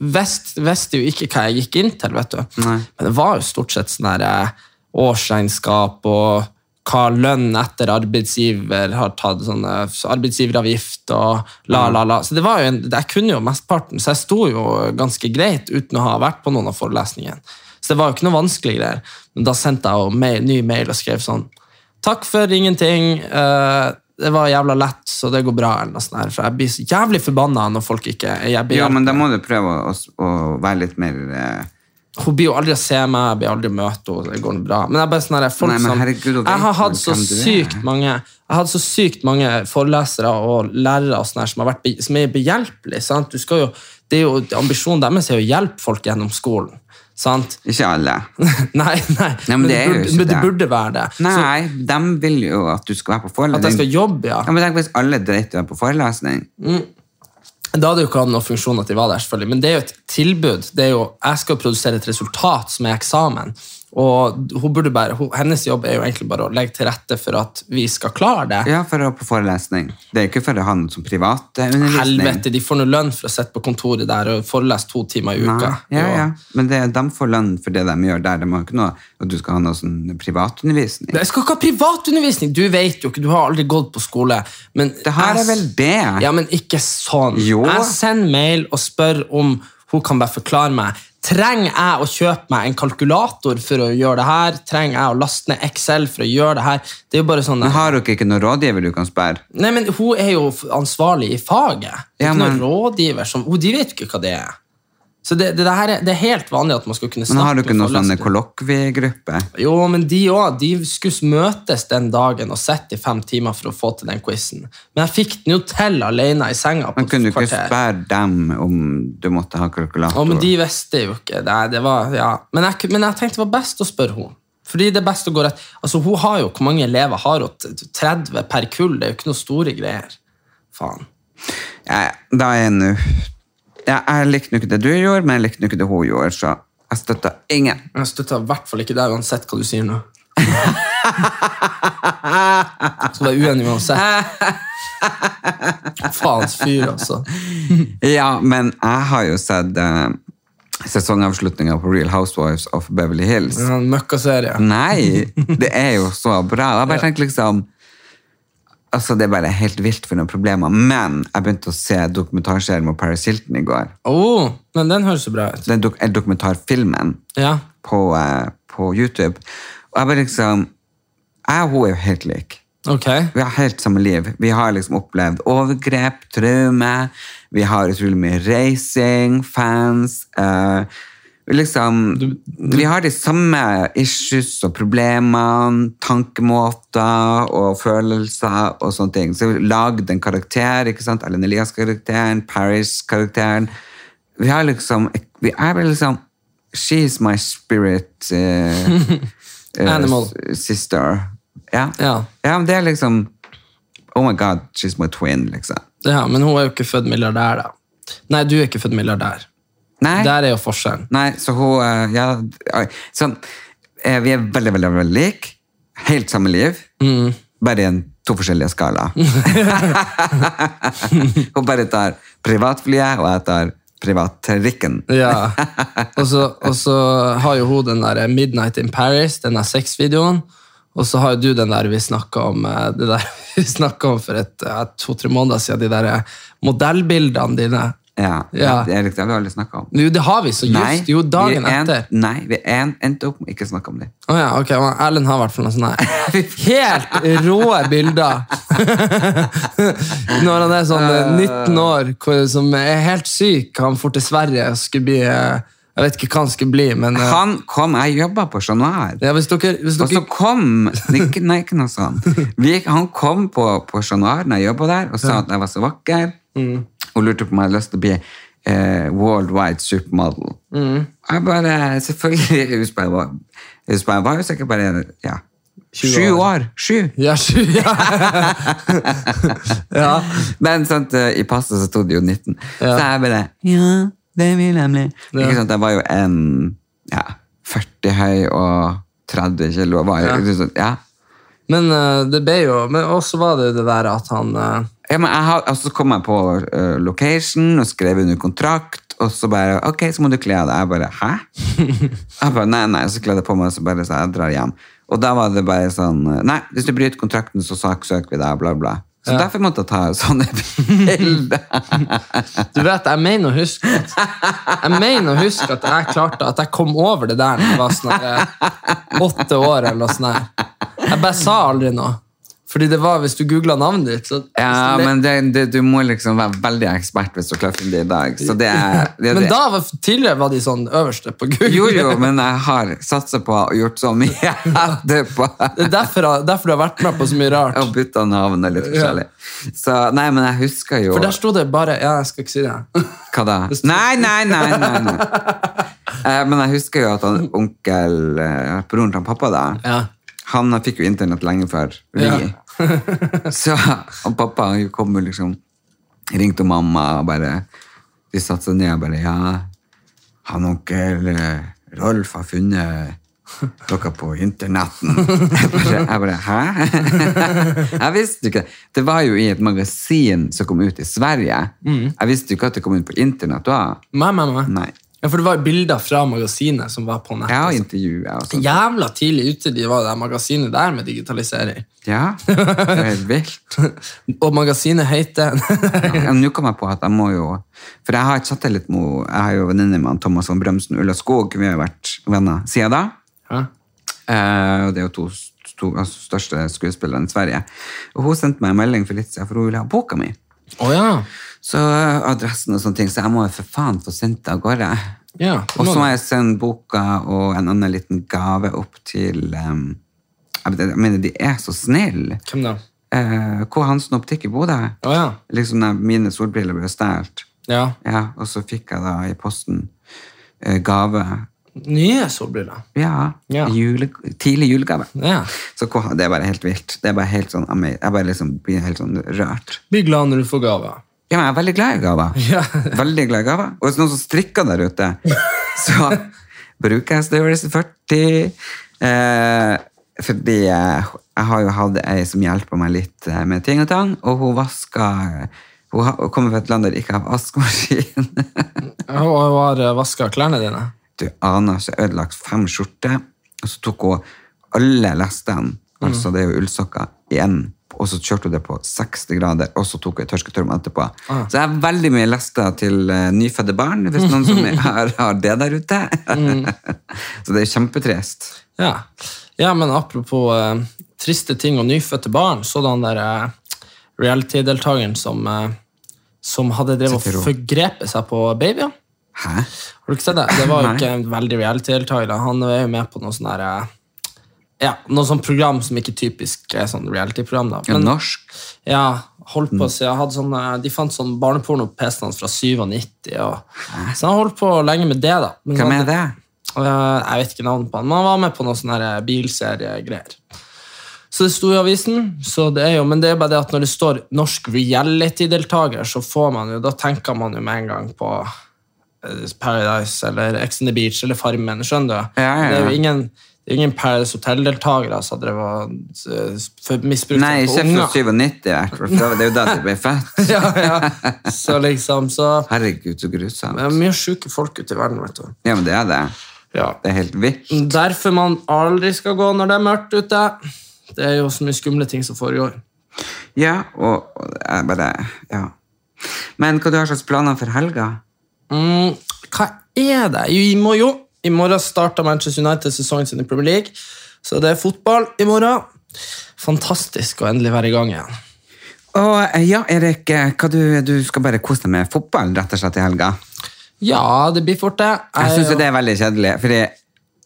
S2: visst Visste jo ikke hva jeg gikk inn til, vet du.
S1: Nei.
S2: Men det var jo stort sett sånn her eh, årsregnskap og hva lønn etter arbeidsgiver har tatt, sånn eh, arbeidsgiveravgift og la, la, la. Så det var jo en, jeg kunne jo mesteparten, så jeg sto jo ganske greit uten å ha vært på noen av forelesningene. Så det var jo ikke noe vanskelig greier. Men da sendte jeg jo mail, ny mail og skrev sånn Takk for ingenting. eh, det var jævla lett, så det går bra. eller noe sånt her, For jeg blir så jævlig forbanna når folk ikke jeg blir,
S1: Ja, men da må du prøve å, å, å være litt mer... eh,
S2: Hun blir jo aldri å se meg, jeg blir aldri å møte henne. Det går noe bra. Men jeg er bare sånn her, folk
S1: Nei, men
S2: som
S1: herregud, hun vet
S2: Jeg har
S1: jo
S2: hatt så
S1: hvem du er.
S2: sykt mange Jeg har hatt så sykt mange forelesere og lærere og sånne her som, har vært, be- som er behjelpelige. sant? Du skal jo, det er jo, Ambisjonen deres er jo å hjelpe folk gjennom skolen. sant?
S1: Ikke alle.
S2: Nei, nei,
S1: Nei, men det er jo
S2: burde,
S1: ikke
S2: men det
S1: det.
S2: burde være det. Så
S1: Nei, de vil jo at du skal være på
S2: at jeg
S1: forelesning.
S2: skal jobbe, ja.
S1: Ja, men tenk hvis alle dreit i å være på forelesning.
S2: Da hadde jo ikke hatt noen funksjon at de var der, selvfølgelig. Men det er jo et tilbud. Det er jo, jeg skal produsere et resultat som er eksamen. Og hun burde bare, hun, hennes jobb er jo egentlig bare å legge til rette for at vi skal klare det.
S1: Ja, for å være på forelesning. Det er ikke for å ha noe som eh, privatundervisning.
S2: Helvete, de får noe lønn for å sitte på kontoret der og forelese to timer i uka.
S1: Nei, ja,
S2: Jo.
S1: ja. Men det, de får lønn for det de gjør der. De har ikke noe at du skal ha noe sånn privatundervisning. Det,
S2: Jeg skal ikke ha privatundervisning! Du vet jo ikke, du har aldri gått på skole. Men
S1: her er
S2: jeg-
S1: vel det?
S2: Ja, men ikke sånn.
S1: Jo.
S2: Jeg sender mail og spør om hun kan bare forklare meg. Trenger jeg å kjøpe meg en kalkulator for å gjøre det her? Trenger jeg å laste ned Excel for å gjøre det her? Det er jo bare sånn...
S1: Men har dere ikke noen rådgiver du kan spørre?
S2: Nei, men hun er jo f- ansvarlig i faget. Det er
S1: Ja,
S2: ikke
S1: men-
S2: noen rådgiver som... Hun, de vet jo ikke hva det er. Så det, det, det her er, det er helt vanlig at man skal kunne snakke...
S1: Men har dere
S2: med
S1: noen sånne
S2: forelesere.
S1: kollokviegruppe?
S2: Jo, men de òg. De skulle møtes den dagen og sitte i fem timer for å få til den quizen. Men jeg fikk den jo til alene i senga. på
S1: Man
S2: et
S1: kunne du ikke
S2: kvarter.
S1: spørre dem om du måtte ha kalkulator?
S2: Å, men de visste jo ikke. Nei, det var, ja. men, jeg, ku- men jeg tenkte det var best å spørre henne. Fordi det er best å gå rett. Altså, hun har jo, Hvor mange elever har hun? T- 30 per kull? Det er jo ikke noe store greier. Faen.
S1: Nei, da er jeg nå ja, Jeg likte nå ikke det du gjorde, men jeg likte nå ikke det hun gjorde, så jeg støtter ingen.
S2: Jeg støtter i hvert fall ikke deg, uansett hva du sier nå. Skal være uenig uansett. Faens fyr, altså.
S1: Ja, men jeg har jo sett uh, sesongavslutninga på Real Housewives of Beverly Hills.
S2: En Møkkaserie.
S1: Nei, det er jo så bra. Jeg bare tenkte liksom Altså, Det er bare helt vilt for noen problemer. Men jeg begynte å se dokumentarserien med Paris Hilton i går.
S2: Oh, men den høres jo bra ut.
S1: Den dok eller dokumentarfilmen
S2: Ja.
S1: på, eh, på YouTube. Og jeg bare liksom Jeg og hun er jo helt like.
S2: Ok.
S1: Vi har helt samme liv. Vi har liksom opplevd overgrep, traume, vi har utrolig mye racing, fans eh, vi Liksom Vi har de samme issues og problemene, tankemåter og følelser og sånne ting. Så vi lagde en karakter, ikke sant? Ellen Elias-karakteren, Paris-karakteren. Vi har liksom Vi er vel liksom She's my spirit eh, eh,
S2: Animal.
S1: s- sister. Ja.
S2: Ja.
S1: men det er liksom Oh my god, she's my twin, liksom.
S2: ja. Men hun er jo ikke født milliardær, da. Nei, du er ikke født milliardær.
S1: Nei,
S2: Der er jo forskjellen.
S1: nei så hun eh, Ja, oi, sånn. eh, Vi er veldig, veldig, veldig like. Helt samme liv.
S2: Mm.
S1: Bare i en to forskjellige skala. hun bare tar privatflyet, og jeg tar privattrikken.
S2: Ja. Og så, og så har jo hun den der Midnight in Paris, den der sexvideoen. Og så har jo du den der vi snakka om, eh, det der vi snakket om for et, eh, to-tre måneder siden, de der eh, modellbildene dine.
S1: Ja,
S2: Ja.
S1: Det er riktig, det har vi aldri snakka om.
S2: Jo, det har vi så
S1: Nei,
S2: just. Jo, dagen
S1: vi en,
S2: etter.
S1: Nei, vi en, endte opp med ikke å snakke om det.
S2: Å ja, ok, men Erlend har i hvert fall noen sånne her helt rå bilder. Når han er sånn eh, 19 år, hvor, som er helt syk. Han dro til Sverige og skulle bli eh, Jeg vet ikke hva han skulle bli, men eh,
S1: Han kom, jeg jobba på Chat Noir.
S2: ja, hvis dere, hvis
S1: Og så
S2: dere
S1: kom ikke, Nei, ikke noe sånn. Vi, gikk- han kom på, på Chat Noir når jeg jobba der, og sa at jeg var så vakker, og lurte på om jeg hadde lyst til å bli eh, worldwide supermodel. Jeg bare Selvfølgelig jeg husker jeg var, jeg husker jeg var jo sikkert bare ja, sju år. Sju!
S2: ja, sju, ja. ja.
S1: Men sant, eh, i passet så sto det jo 19.
S2: Ja.
S1: Så jeg bare Ja, det vil jeg bli.
S2: Ja.
S1: Ikke sant, jeg var jo en ja, 40 høy og 30 kilo. Var, jo- ikke sant, ja.
S2: Men eh, det ble jo Men også var det det der at han eh,
S1: Ja, men jeg har, og så kom jeg på eh, location og skrev under kontrakt, og så bare Ok, så må du kle av deg. Jeg bare Hæ? Jeg bare, nei, nei, Så kledde jeg på meg og så bare sa jeg drar hjem. Og da var det bare sånn Nei, hvis du bryter kontrakten, så saksøker vi deg, bla, bla. Så derfor måtte jeg ta sånne bilder.
S2: Du vet, jeg mener å huske at Jeg mener å huske at jeg klarte At jeg kom over det der når jeg var sånn her Åtte år eller noe sånn her Jeg bare sa aldri noe Fordi det var hvis du googlet navnet ditt så,
S1: Ja, men det, det, du må liksom være veldig ekspert hvis du klarer å finne det i dag. Så det er, det, er
S2: Men
S1: det.
S2: da, var, tidligere var de sånn øverste på Google
S1: Jo, jo, men jeg har satsa på og gjort så mye etterpå.
S2: Det er derfor, derfor du har vært med på så mye rart
S1: Og bytta navn og litt forskjellig. Så nei, men jeg husker jo
S2: For der sto det bare Ja, jeg skal ikke si det
S1: Hva da? Nei, nei, nei, nei. nei. Eh, Men jeg husker jo at han, onkel eh, Broren til han pappa, da.
S2: Ja.
S1: Han fikk jo internett lenge før vi.
S2: Ja.
S1: Så og pappa han kom jo liksom Ringte mamma og bare De satte seg ned og bare Ja, han onkel eh, Rolf har funnet dere på internetten. Jeg bare, jeg bare Hæ? Jeg visste ikke det. Det var jo i et magasin som kom ut i Sverige. Jeg visste jo ikke at det kom ut på internett da.
S2: Nei, nei, nei,
S1: Nei.
S2: Ja, for det var jo bilder fra magasinet som var på nettet
S1: Jeg har
S2: altså.
S1: intervjuet og sånt.
S2: Jævla tidlig ute de var i det her magasinet der med digitalisering
S1: Ja, det er helt vilt.
S2: Og magasinet heter
S1: Ja, Nå kom jeg på at jeg må jo For jeg har chatta litt med Jeg har jo venninne med han Thomas von Brømsen Ulla Skog. Vi har jo vært venner siden da.
S2: Hæ?
S1: Eh, og det er jo to, st- to altså, største skuespillere i Sverige. Og hun sendte meg en melding for litt siden, for hun ville ha boka mi.
S2: Å ja.
S1: Så eh, adressen og sånne ting, så jeg må jo for faen få sendt det av gårde.
S2: Ja,
S1: Og så må jeg sende boka og en annen liten gave opp til eh, jeg vet- Jeg mener, de er så snille.
S2: Hvem da?
S1: Eh, K. Hansen optikk i Bodø.
S2: Å ja.
S1: Liksom da mine solbriller ble stjålet.
S2: ja.
S1: Ja, og så fikk jeg da i posten eh, gave.
S2: Nye solbriller.
S1: Ja,
S2: Ja.
S1: Jule, tidlig julegave.
S2: Ja.
S1: Så hva- det er bare helt vilt. Det er bare helt sånn, ama- jeg bare liksom blir helt sånn rørt.
S2: Bli glad når du får gaver.
S1: Ja, men jeg er veldig glad i gaver.
S2: Ja.
S1: Veldig glad i gaver. Og hvis noen som strikker der ute, så bruker jeg størrelse 40. Eh, fordi jeg, jeg har jo hatt ei som hjelper meg litt eh, med ting og tang, og hun vasker Hun har- hun kommer fra et land der de ikke har vaskemaskin.
S2: Jeg har vaska klærne dine.
S1: du aner ikke, ødelagt fem skjorter, og så tok hun alle lestene,
S2: Mm.
S1: altså det er jo ullsokker, igjen, og så kjørte hun det på 60 grader, og så tok hun et tørsketørm etterpå.
S2: Ah.
S1: Så jeg har veldig mye lester til eh, nyfødte barn, hvis noen som har, har det der ute.
S2: Mm.
S1: så det er kjempetrist.
S2: Ja. ja, men apropos eh, triste ting og nyfødte barn, så den der eh, reality-deltakeren som, eh, som hadde drevet
S1: Sitter
S2: og
S1: hun.
S2: forgrepet seg på babyer.
S1: Hæ?
S2: Har du ikke sett det? Det var jo
S1: Nei.
S2: ikke en veldig reality-deltaker. da. Han er jo med på noe sånn der, eh, ja, noe sånn program som ikke typisk er sånn reality-program. da.
S1: Ja,
S2: Men-
S1: norsk? Mm.
S2: Ja, holdt på å si. Jeg hadde sånn, eh, de fant sånn barneporno på PC-en hans fra 97. Og, så han holdt på lenge med det, da. Men
S1: Hvem
S2: han-
S1: er det?
S2: Eh, jeg vet ikke navnet på han, men han var med på noen sånne her eh, bilseriegreier. Så det sto i avisen, så det er jo, men det er bare det at når det står norsk reality-deltaker, så får man jo, da tenker man jo med en gang på eh, Paradise eller Ex on the Beach eller Farmen, skjønner du?
S1: Ja, ja, ja.
S2: Det er jo ingen, det er jo ingen Paradise altså, Hotel-deltakere som drev og eh, misbrukte
S1: Nei,
S2: på
S1: ikke fra 97, i hvert fall, for det er jo da de ble født.
S2: ja, ja. Så liksom, så
S1: Herregud, så
S2: Det er
S1: grusomt.
S2: mye syke folk ute i verden, vet du.
S1: Ja, men det er det.
S2: Ja.
S1: Det er helt vilt.
S2: Derfor man aldri skal gå når det er mørkt ute. Det er jo så mye skumle ting som foregår.
S1: Ja, og og jeg bare Ja. Men hva du har slags planer for helga?
S2: Mm, hva er det? Jo, i morgen, jo. I morgen starter Manchester United sesongen sin i Premier League. Så det er fotball i morgen. Fantastisk å endelig være i gang igjen.
S1: Og eh, ja, Erik, eh, hva du, du skal bare kose deg med fotball rett og slett i helga.
S2: Ja, det blir fort det.
S1: Jeg
S2: er
S1: syns
S2: jo-
S1: det er veldig kjedelig. fordi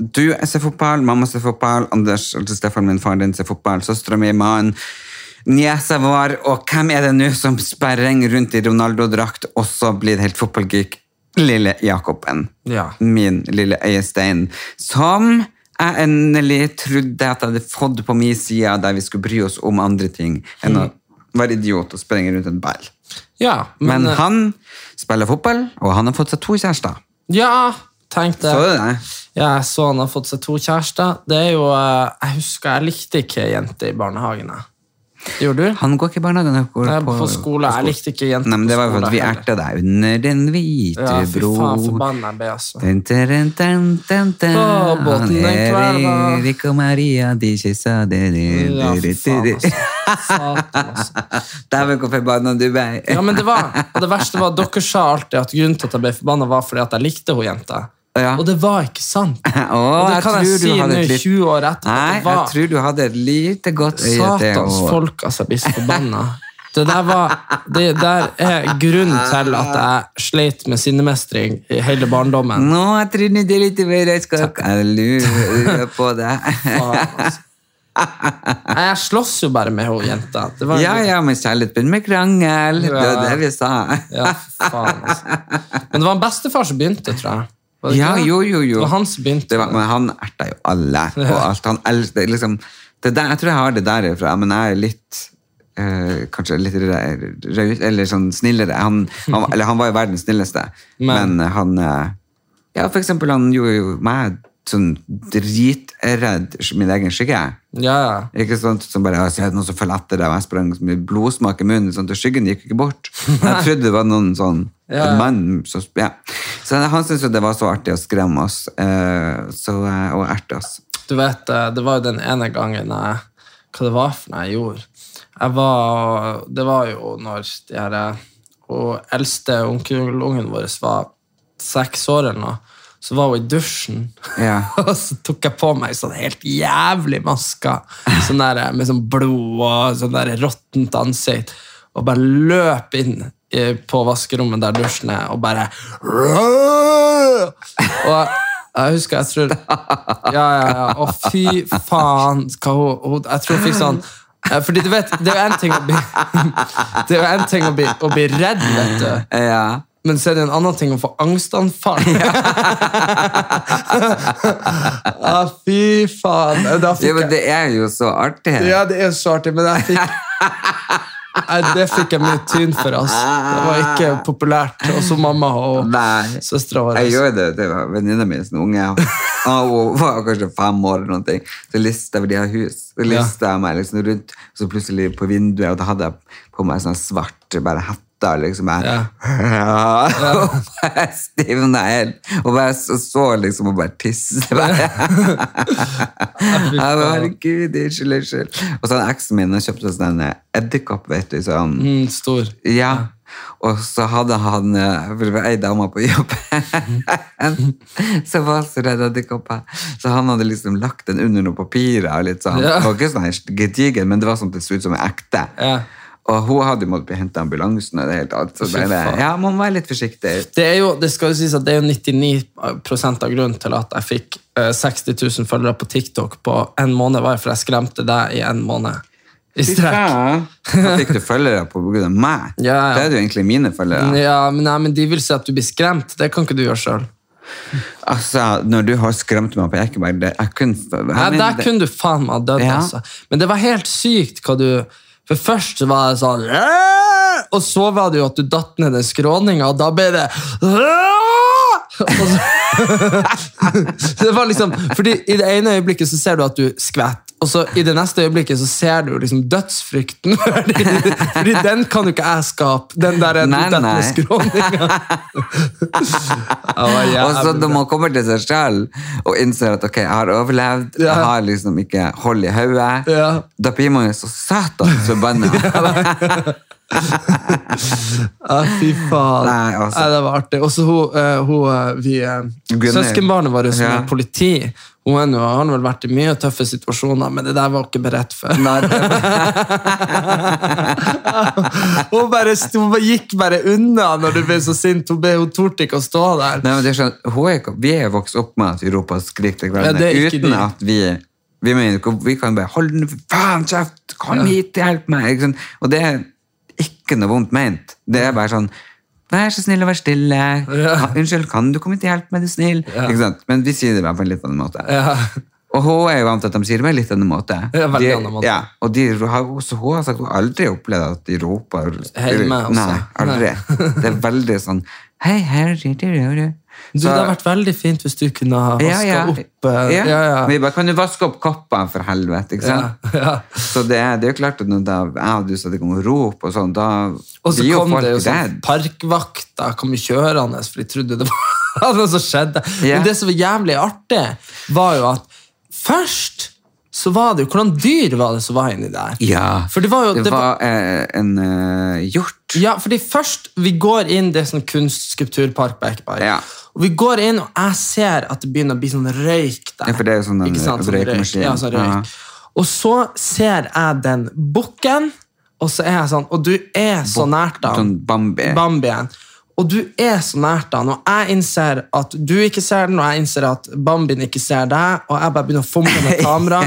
S1: du ser fotball, mamma ser fotball, Anders, altså Stefan, min far din ser fotball, søstera mi, mannen, niesa vår, og hvem er det nå som sperrer rundt i Ronaldo-drakt, og så blir det helt fotballgeek? Lille Jakoben.
S2: Ja.
S1: Min lille øyestein. Som jeg endelig trodde at jeg hadde fått på min side, der vi skulle bry oss om andre ting enn å være idiot og sprenge rundt en ball.
S2: ja, men, eh,
S1: Men han spiller fotball, og han har fått seg to kjærester.
S2: eh, Ja, tenk det.
S1: Så du det?
S2: Ja, jeg så han har fått seg to kjærester. Det er jo, eh, Jeg husker jeg likte ikke jenter i barnehagen. jeg. Gjorde du?
S1: Han går ikke i barnehagen. Han går
S2: Nei, på skole. Jeg likte ikke jenter
S1: Nei, men Det
S2: på
S1: var jo for at vi
S2: skole heller.
S1: erta deg under den hvite
S2: Ja, fy
S1: bro.
S2: faen, forbanna jeg ble, altså.
S1: Dun, dun, dun, dun, dun.
S2: Å, båten
S1: Han
S2: den kvelden.
S1: Erik og Maria, de kyssa de, de,
S2: Ja,
S1: de, de,
S2: fy faen,
S1: de, de.
S2: altså. Satan, altså.
S1: Dæven, hvor forbanna du ble.
S2: Ja, men det var, og det verste var at dere sa alltid at grunnen til at jeg ble forbanna, var fordi at jeg likte hun jenta.
S1: Ja.
S2: Og det var ikke sant.
S1: Å,
S2: og det kan jeg,
S1: tror du
S2: si
S1: hadde
S2: nå,
S1: et litt-
S2: 20 år etter.
S1: Nei,
S2: at det
S1: jeg
S2: var
S1: tror du hadde et lite godt øye til
S2: Satans
S1: å
S2: folk, altså. Jeg blir så forbanna. Det der, var, det der er grunnen til at jeg sleit med sinnemestring i hele barndommen.
S1: Nå, jeg tror nå det er litt mer jeg skal Jeg lurer på det.
S2: Faen, altså. Nei, Jeg slåss jo bare med hun jenta. Det var
S1: Ja, ja, men kjærlighet begynner med krangel. Det var
S2: Ja.
S1: det vi sa.
S2: Ja, fy faen, altså. Men det var en bestefar som begynte, tror jeg. Var det ikke
S1: Ja,
S2: det?
S1: jo, jo, jo.
S2: Det var han som begynte.
S1: Det var, men han erta jo alle og alt. Han elsket det, liksom, det der, Jeg tror jeg har det derifra, men jeg er litt eh, kanskje litt ra- raus, eller sånn snillere. Han, han, eller han var jo verdens snilleste, men,
S2: Men-
S1: han eh, Ja, for eksempel, han gjorde jo meg sånn dritredd min egen skygge.
S2: Ja, ja.
S1: Ikke sant, som bare, altså, jeg ser noen som følger etter deg, og jeg sprang med blodsmak i munnen, sånn at skyggen gikk ikke bort. Jeg trodde det var noen sånn,
S2: Ja.
S1: en mann som, ja. Så han syntes jo det var så artig å skremme oss, eh, så, eh, og erte oss.
S2: Du vet, eh, det var jo den ene gangen jeg Hva det var for noe jeg gjorde? Jeg var Det var jo når de her eh, Og eldste onkelungen vår var seks år eller noe. Så var hun i dusjen,
S1: Ja.
S2: og så tok jeg på meg sånn helt jævlig maska. Sånn der, eh, med sånn blod og sånn der råttent ansikt. Og bare løp inn i- på vaskerommet der dusjen er, og bare Og jeg husker jeg tror ja, ja, ja. Og fy faen hva hun, hun, Jeg tror hun fikk sånn eh, Fordi du vet, det er jo en ting å bli Det er jo en ting å bli, å bli redd, vet du
S1: Ja.
S2: Men så er det en annen ting å få angstanfall Ja, Ah, fy faen Eh, Da
S1: ja,
S2: fikk
S1: men
S2: jeg
S1: det er jo så artig.
S2: Ja, det er så artig, men jeg fikk Nei, det fikk jeg mye tyn for, ass Det var ikke populært Også mamma og
S1: Nei.
S2: søstra vår
S1: Jeg gjorde det til venninna mi, sånn unge. Og Hun var kanskje fem år eller noen ting. Så lista vi de her hus. Så lista jeg meg liksom rundt, og så plutselig på vinduet, og da hadde jeg på meg sånn svart bare hette. Liksom bare, Og bare stivna helt. Og bare så, så liksom og bare tisse. Bare. Jeg bare, Herregud, unnskyld, unnskyld. Og så hadde eksen min han kjøpte sånn en edderkopp, vet du. sånn...
S2: mm, Stor
S1: Ja. Og så hadde han eh, For det var ei dame på jobb
S2: Mhm.
S1: som var så redd edderkopper. Så han hadde liksom lagt den under noen papirer. og Litt sånn.
S2: Ja.
S1: Det var ikke sånn her gedigen, men det var sånn at det så ut som en ekte.
S2: Ja.
S1: Og hun hadde måttet bli hentet i ambulansen. og det hele tatt. Så
S2: Fy
S1: bare,
S2: faen.
S1: ja, man må være litt forsiktig.
S2: det er jo, det skal jo sies at det er jo 99 av grunnen til at jeg fikk eh, 60 000 følgere på TikTok på en måned, var jo for jeg skremte deg i en måned. I strekk.
S1: Da fikk du følgere på grunn av meg.
S2: Ja, ja.
S1: Det er jo egentlig mine følgere.
S2: Ja, men, nei, men de vil si at du blir skremt. Det kan ikke du gjøre sjøl.
S1: Altså, Når du har skremt meg på Ekeberg det, jeg kunne, jeg mener,
S2: Der
S1: det-
S2: kunne du faen meg ha dødd,
S1: Ja.
S2: altså. Men det var helt sykt hva du For først så var det sånn Og så var det jo at du datt ned den skråninga, og da ble det og så, Så det var liksom, fordi I det ene øyeblikket så ser du at du skvetter, og så i det neste øyeblikket så ser du liksom dødsfrykten. Fordi, fordi den kan jo ikke jeg skape. Den der
S1: Nei, nei.
S2: skråninga.
S1: og så når man kommer til seg selv og innser at ok, jeg har overlevd,
S2: Ja.
S1: jeg har liksom ikke hold i hodet,
S2: Ja.
S1: da blir man jo så satans forbanna.
S2: Ja, fy faen.
S1: Nei, altså.
S2: Nei, det var artig. Og så hun, eh, hun eh, vi, eh,
S1: Gunnhild.
S2: Søskenbarnet vårt som
S1: Ja.
S2: er politi, hun er nå- har nå vel vært i mye tøffe situasjoner, men det der var hun ikke beredt for.
S1: Nei, det,
S2: hun, bare, st- hun bare gikk bare unna når du ble så sint. Hun, ble- hun torde ikke å stå der.
S1: nei, men det er sånn, hun er, ikke- vi er jo vokst opp med at vi roper og skriker til
S2: Ja,
S1: hverandre
S2: det er ikke
S1: uten
S2: de.
S1: at vi vi, mener, ikke- vi kan bare holde den faen kjeft, kom hit, hjelp meg. Ikke sant? Og det er ikke noe vondt ment. Det er bare sånn Vær så snill og vær stille.
S2: Ja.
S1: Unnskyld, kan du komme hit og hjelpe meg, du snill? Ikke sant? Men vi sier det bare på en litt annen måte.
S2: Ja.
S1: Og hun er jo vant til at de sier det på en litt annen måte.
S2: Ja, veldig
S1: de,
S2: annen måte.
S1: Ja, og de, har, også hun har sagt hun har aldri opplevd at de roper.
S2: Hjemme også.
S1: Nei, aldri. det er veldig sånn Hei, her sitter du.
S2: Du, det hadde vært veldig fint hvis du kunne ha vaska opp eh,
S1: ja.
S2: ja, ja.
S1: Vi bare kan du vaske opp kopper, for helvete. ikke sant?
S2: Ja, ja.
S1: Så det, er- det er jo klart at når da jeg og du satt i gang og rop og sånn, da
S2: Og så
S1: blir
S2: kom det jo
S1: folk
S2: sånn
S1: redd.
S2: parkvakter kom jo kjørende, for de trodde det var noe som skjedde.
S1: Ja.
S2: Men det som var jævlig artig, var jo at først så var det jo Hvordan dyr var det som var inni der?
S1: Ja.
S2: For det var jo
S1: Det var eh, en eh, hjort.
S2: Ja, fordi først vi går inn det er sånn kunst, skulpturpark, Bekeberg.
S1: Ja.
S2: Og vi går inn, og jeg ser at det begynner å bli sånn røyk der.
S1: Ja, for det er jo sånn en
S2: Ikke sant? Sånn
S1: røykemaskin.
S2: røyk. Ja, sånn røyk.
S1: Ja.
S2: Og så ser jeg den bukken, og så er jeg sånn, og du er så nært den.
S1: sånn Bambi.
S2: Bambien. Og du er så nært den, og jeg innser at du ikke ser den, og jeg innser at Bambien ikke ser deg, og jeg bare begynner å fomle med kamera.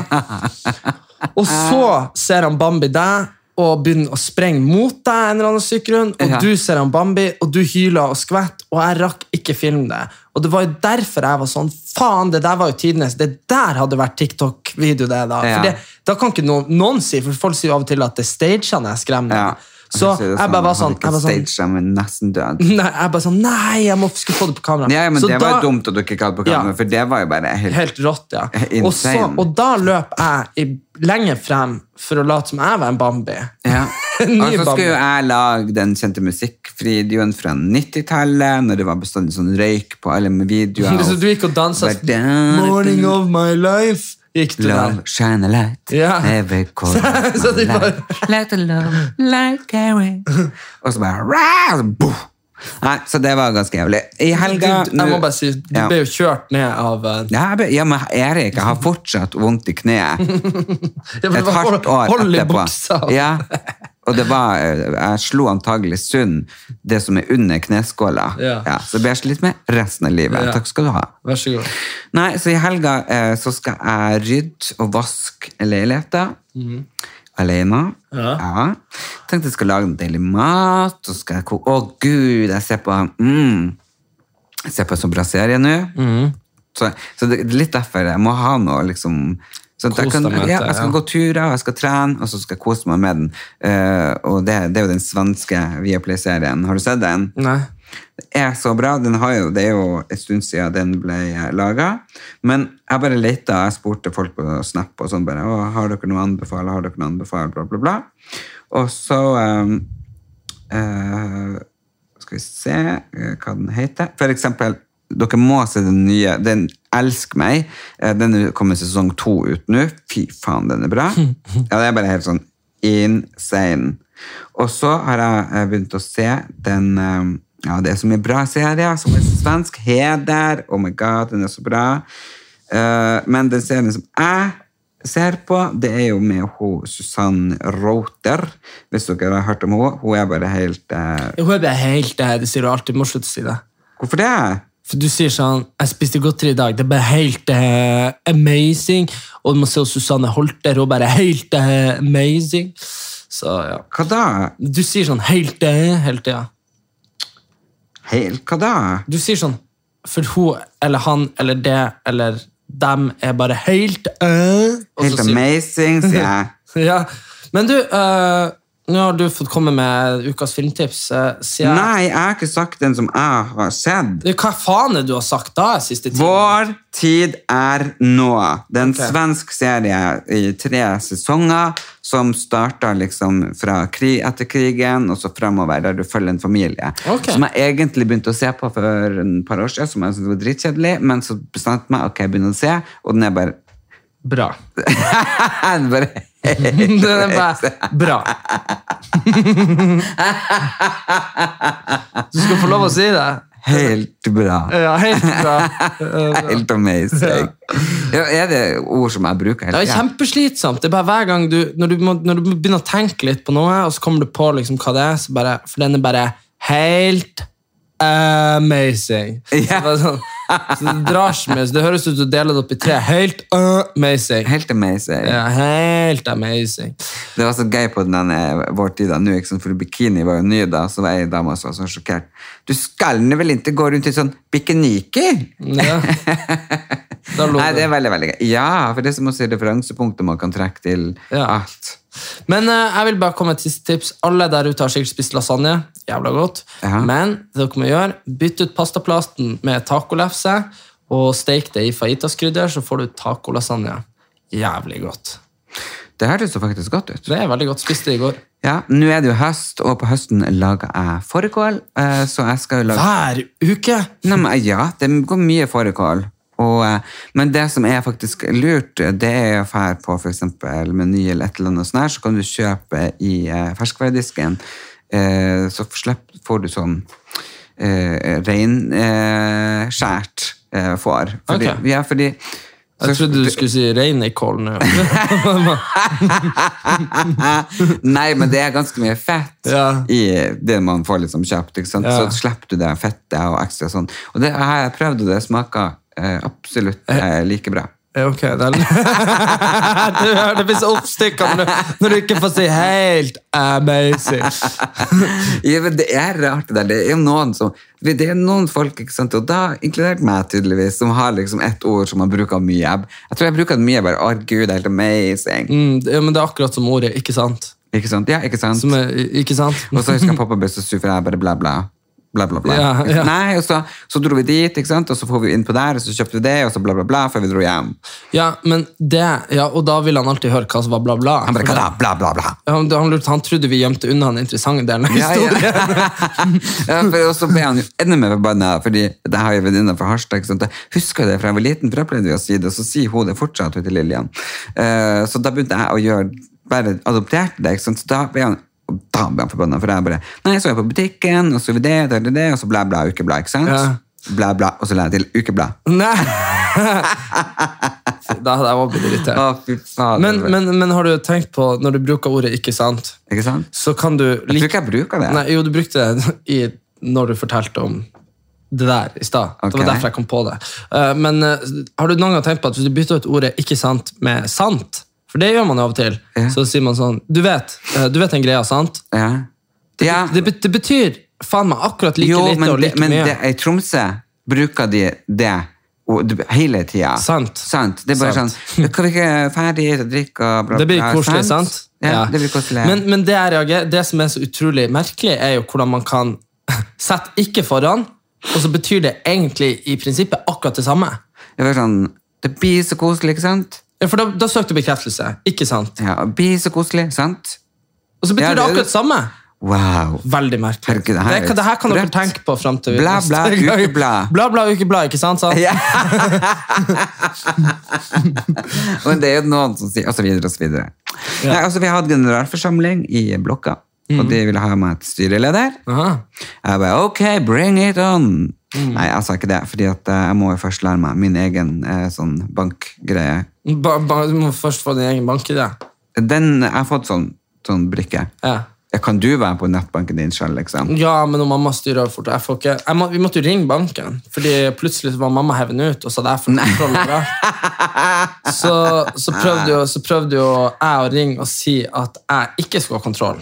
S2: Og så ser han Bambi deg og begynner å sprenge mot deg, en eller annen syk grunn, og
S1: Ja.
S2: du ser han Bambi, og du hyler og skvetter, og jeg rakk ikke filme det. Og det var jo derfor jeg var sånn Faen, det der var jo tidenes. Det der hadde vært TikTok-video, det da.
S1: Ja.
S2: For det, da kan ikke noen, noen si, for folk sier jo av og til at det er stagene jeg skremmer.
S1: Ja.
S2: Så
S1: sier det
S2: jeg bare var
S1: han
S2: sånn,
S1: hadde
S2: jeg var sånn
S1: ikke staged dem, men nesten død.
S2: Nei, jeg bare sånn, nei, jeg må skulle få det på kamera.
S1: Ja, men
S2: Så
S1: det
S2: da-
S1: var jo dumt at du ikke kalte på kamera,
S2: Ja.
S1: for det var jo bare helt,
S2: Helt rått, ja.
S1: Insane.
S2: Og, så, og da løp jeg i, lenger frem for å late som jeg var en Bambi.
S1: ja.
S2: Ny
S1: Og så
S2: Bambi.
S1: skulle jo jeg lage den kjente musikkvideoen fra 90-tallet, når det var bestandig sånn røyk på alle med videoer.
S2: Så du gikk og dansa
S1: Bare down,
S2: Morning of my life Gikk du der
S1: Love, shine a light,
S2: Ja.
S1: every corner of
S2: Så
S1: my
S2: de bare-
S1: life. Let the love, light carry. Og så bare, rah, boom. Nei, så det var ganske jævlig. I helga...
S2: Du- Jeg må
S1: nå-
S2: bare si Du
S1: Ja.
S2: ble jo kjørt ned av eh,
S1: Ja, jeg ble- ja, men Erik, jeg har fortsatt vondt i kneet.
S2: det var-
S1: et hardt år
S2: Hold i
S1: etterpå.
S2: buksa
S1: Ja. Og det var, jeg slo antagelig sunn det som er under kneskåla.
S2: Ja.
S1: så det blir jeg litt med resten av livet.
S2: Ja.
S1: Takk skal du ha.
S2: Vær så god
S1: Nei, så i helga eh, så skal jeg rydde og vaske leiligheter. Alene.
S2: Mhm. Ja.
S1: Tenkte jeg skal lage en deilig mat. Så skal jeg ko- Å gud, jeg ser på mm, Jeg ser på en så bra serie nå.
S2: Mhm.
S1: Så, så det det er litt derfor jeg må ha noe liksom så at jeg,
S2: Kos
S1: kan,
S2: deg med
S1: ja,
S2: det,
S1: jeg skal
S2: ja.
S1: gå turer, og jeg skal trene, og så skal jeg kose meg med den. Eh, og det, det er jo den svenske Viaplay-serien. Har du sett den?
S2: Nei
S1: er så bra. Den har jo, det er jo en stund siden den ble laga. Men jeg bare leta, jeg spurte folk på Snap og sånn bare å, har dere noe å anbefale, har dere noe å anbefale, bla, bla, bla. Og så ehm, eh, eh, Skal vi se eh, hva den heter. For eksempel, dere må se den nye. Den elsker meg. Eh, Den er- kommer sesong to ut nå. Fy faen, den er bra. Ja, det er bare helt sånn insane. Og så har jeg eh, begynt å se den eh, Ja, det er så mye bra serier som er svensk. Heder. Oh my god, den er så bra. Eh, Men den serien som jeg ser på, det er jo med hun Susanne Rother. Hvis dere har hørt om henne. Hun er bare helt eh,
S2: Jeg håper jeg helt eh, det her Det sier du alltid Du må slutte å si det
S1: Hvorfor det?
S2: for du sier sånn, jeg spiste godteri i dag, det er bare helt eh, amazing. Og du må se hos Susanne Holter, og bare helt eh, amazing. Så ja.
S1: Hva da?
S2: Du sier sånn, helt eh, hele tida.
S1: Helt, hva da?
S2: Du sier sånn For hun eller han eller det eller dem er bare helt øh, og så
S1: Helt
S2: sier-
S1: amazing, sier jeg.
S2: Ja. Men du, øh, nå har du fått komme med ukas filmtips. øh, sier jeg.
S1: Nei, jeg har ikke sagt den som jeg har sett.
S2: Du, Hva faen er det du har sagt da? siste tiden?
S1: Vår tid er nå. Det er en
S2: Ok.
S1: svensk serie i tre sesonger som starter liksom fra krig etter krigen og så fremover, der du følger en familie.
S2: Ok.
S1: Som jeg egentlig begynte å se på for en par år siden, som jeg syntes var dritkjedelig, men så bestemte jeg meg, ok, jeg begynner å se, og den er bare...
S2: Bra.
S1: den er bare
S2: Den er bare bra. Du skal få lov å si det.
S1: Helt bra.
S2: Ja, helt bra.
S1: Helt amazing. Ja, er det ord som jeg bruker
S2: Det
S1: hele
S2: er
S1: tiden?
S2: kjempeslitsomt. Det er bare hver gang du når du, må, når du begynner å tenke litt på noe, og så kommer du på liksom hva det er, så bare, for den er bare helt amazing.
S1: Ja.
S2: Så, bare sånn, så det drar så mye. Så det høres ut som du deler det opp i tre. Helt amazing.
S1: Helt amazing.
S2: Ja, helt amazing.
S1: Det var så gøy på den eh, vår tid da, nå, ikke sant, for bikini var jo ny da, så var jeg en dame som var så sjokkert. Du skal nå vel ikke gå rundt i sånn bikiniki?
S2: Ja. Da lo
S1: Nei, det
S2: du.
S1: er veldig, veldig gøy. Ja, for det er som å si referansepunktet man kan trekke til Ah,
S2: Ja.
S1: alt.
S2: Men eh, jeg vil bare komme med et siste tips. Alle der ute har sikkert spist lasagne. Jævla godt.
S1: Ja.
S2: Men det dere må gjøre, bytte ut pastaplasten med tacolefse og steik det i fajitaskrydder, så får du tacolasagne. Jævlig godt.
S1: Det hørtes jo faktisk godt ut.
S2: Det er veldig godt. Spiste det i går.
S1: Ja, nå er det jo høst, og på høsten lager jeg fårikål, eh, så jeg skal jo lage...
S2: Hver uke!
S1: Nei, men, ja, det går mye fårikål. Og, eh, men det som er faktisk lurt, det er å fære på for eksempel meny eller et eller annet sånt her, så kan du kjøpe i eh, ferskvaredisken, eh, så slipp, får du sånn eh, rein eh, skjært eh, får. Fordi,
S2: Ok.
S1: Ja, fordi...
S2: Jeg trodde du skulle si reinikål nå.
S1: Nei, men det er ganske mye fett
S2: Ja.
S1: i det man får liksom kjøpt. Ikke sant?
S2: Ja.
S1: Så slipper du det fettet og ekstra sånn. Og det har jeg prøvd, og det smaker eh, absolutt eh, like bra.
S2: Ja, Ok, det er... Du hører det blir så oppstykka når, du- når du ikke får si 'helt amazing'.
S1: Ja, men det er rart det der. Det er jo noen som det er noen folk, ikke sant, og da inkludert meg tydeligvis, som har liksom ett ord som man bruker mye. Jeg- Jeg tror jeg bruker det mye bare, å gud, det er helt amazing.
S2: Mm, det- ja, men det er akkurat som ordet, ikke sant?
S1: Ikke sant? Ja, ikke sant?
S2: Som er, ikke sant?
S1: Og så husker jeg pappa ble så sur, for jeg bare bla, bla. Bla, bla, bla.
S2: Ja, ja.
S1: Nei, og så, så dro vi dit, ikke sant? og så får vi inn på der, og så kjøpte vi det, og så bla, bla, bla, før vi dro hjem.
S2: Ja, men det, ja, og da ville han alltid høre hva som var bla, bla.
S1: Han bare,
S2: For
S1: hva da? Bla, bla, bla.
S2: det- han, han lurte, han trodde vi gjemte unna den interessante delen av
S1: Ja, ja.
S2: historien.
S1: ja, for, og så ble han jo enda mer forbanna, fordi det har jo en venninne fra Harstad. ikke sant? Jeg husker det fra jeg var liten, for da pleide vi å si det, så sier hun det fortsatt hun til Lillian. Eh, så da begynte jeg å gjøre Bare adopterte det, ikke sant? så da ble han og da ble han forbanna, for jeg bare Nei, så er jeg på butikken, og så er vi det, det, det, det, og så bla, bla, ukeblad, ikke sant?
S2: Ja.
S1: Bla, bla, og så la jeg til ukeblad.
S2: Nei! Da hadde jeg også blitt irritert.
S1: Å, fy fader.
S2: Men, men, men har du tenkt på, når du bruker ordet ikke sant,
S1: ikke sant?
S2: så kan du
S1: Jeg tror ikke jeg bruker det.
S2: Nei, jo, du brukte det i, når du fortalte om det der i stad. Det
S1: Ok.
S2: var derfor jeg kom på det. Eh, men eh, har du noen gang tenkt på at hvis du bytter ut ordet 'ikke sant' med 'sant', for det gjør man jo av og til,
S1: Ja.
S2: så sier man sånn Du vet, eh, du vet den greia, sant?
S1: Ja. ja.
S2: Det, bet- det betyr faen meg akkurat like
S1: jo,
S2: lite
S1: men,
S2: og like
S1: det, men
S2: mye.
S1: det, i Tromsø bruker de det og, du- hele tida.
S2: Sant.
S1: Det er bare
S2: Sant.
S1: sånn Kan vi ikke ferdig og drikke og bla,
S2: Det blir
S1: bla,
S2: koselig, sant?
S1: Ja,
S2: Ja.
S1: det blir koselig.
S2: Men, men det, jeg reagerer, det som er så utrolig merkelig, er jo hvordan man kan sette 'ikke' foran, og så betyr det egentlig i prinsippet akkurat det samme.
S1: det, blir sånn, det blir så koselig, ikke sant?
S2: Ja, For da, da søkte du bekreftelse, ikke sant?
S1: Ja, det blir så koselig, sant?
S2: Og så betyr
S1: Ja,
S2: det
S1: det er
S2: akkurat
S1: det.
S2: samme.
S1: Wow.
S2: Veldig merkelig.
S1: Herregud, det
S2: det,
S1: her
S2: her
S1: er
S2: det her kan dere
S1: sprøtt.
S2: tenke på frem til
S1: Bla,
S2: neste
S1: bla,
S2: gang.
S1: ukeblad.
S2: Bla, bla, ukeblad, ikke sant? sant?
S1: Ja. Men det er jo noen som sier Og så videre og så videre. Nei, altså, vi har hatt generalforsamling i blokka,
S2: Mm.
S1: og de ville ha meg til styreleder.
S2: Aha.
S1: Jeg bare, ok, bring it on! Nei, jeg sa ikke det, fordi at eh, jeg må jo først lære meg min egen eh, sånn bankgreie.
S2: Ba, ba, du må først få din egen bankidé.
S1: Den, jeg har fått sånn, sånn brikke.
S2: Ja.
S1: Ja, Kan du være på nettbanken din selv, liksom?
S2: ja, men når mamma styrer fort jeg får ikke, jeg må, Vi måtte jo ringe banken, Fordi plutselig så var mamma heven ut, og så hadde jeg fått kontroll over det. Så, så prøvde jo, så prøvde jo jeg å ringe og si at jeg ikke skulle ha kontroll,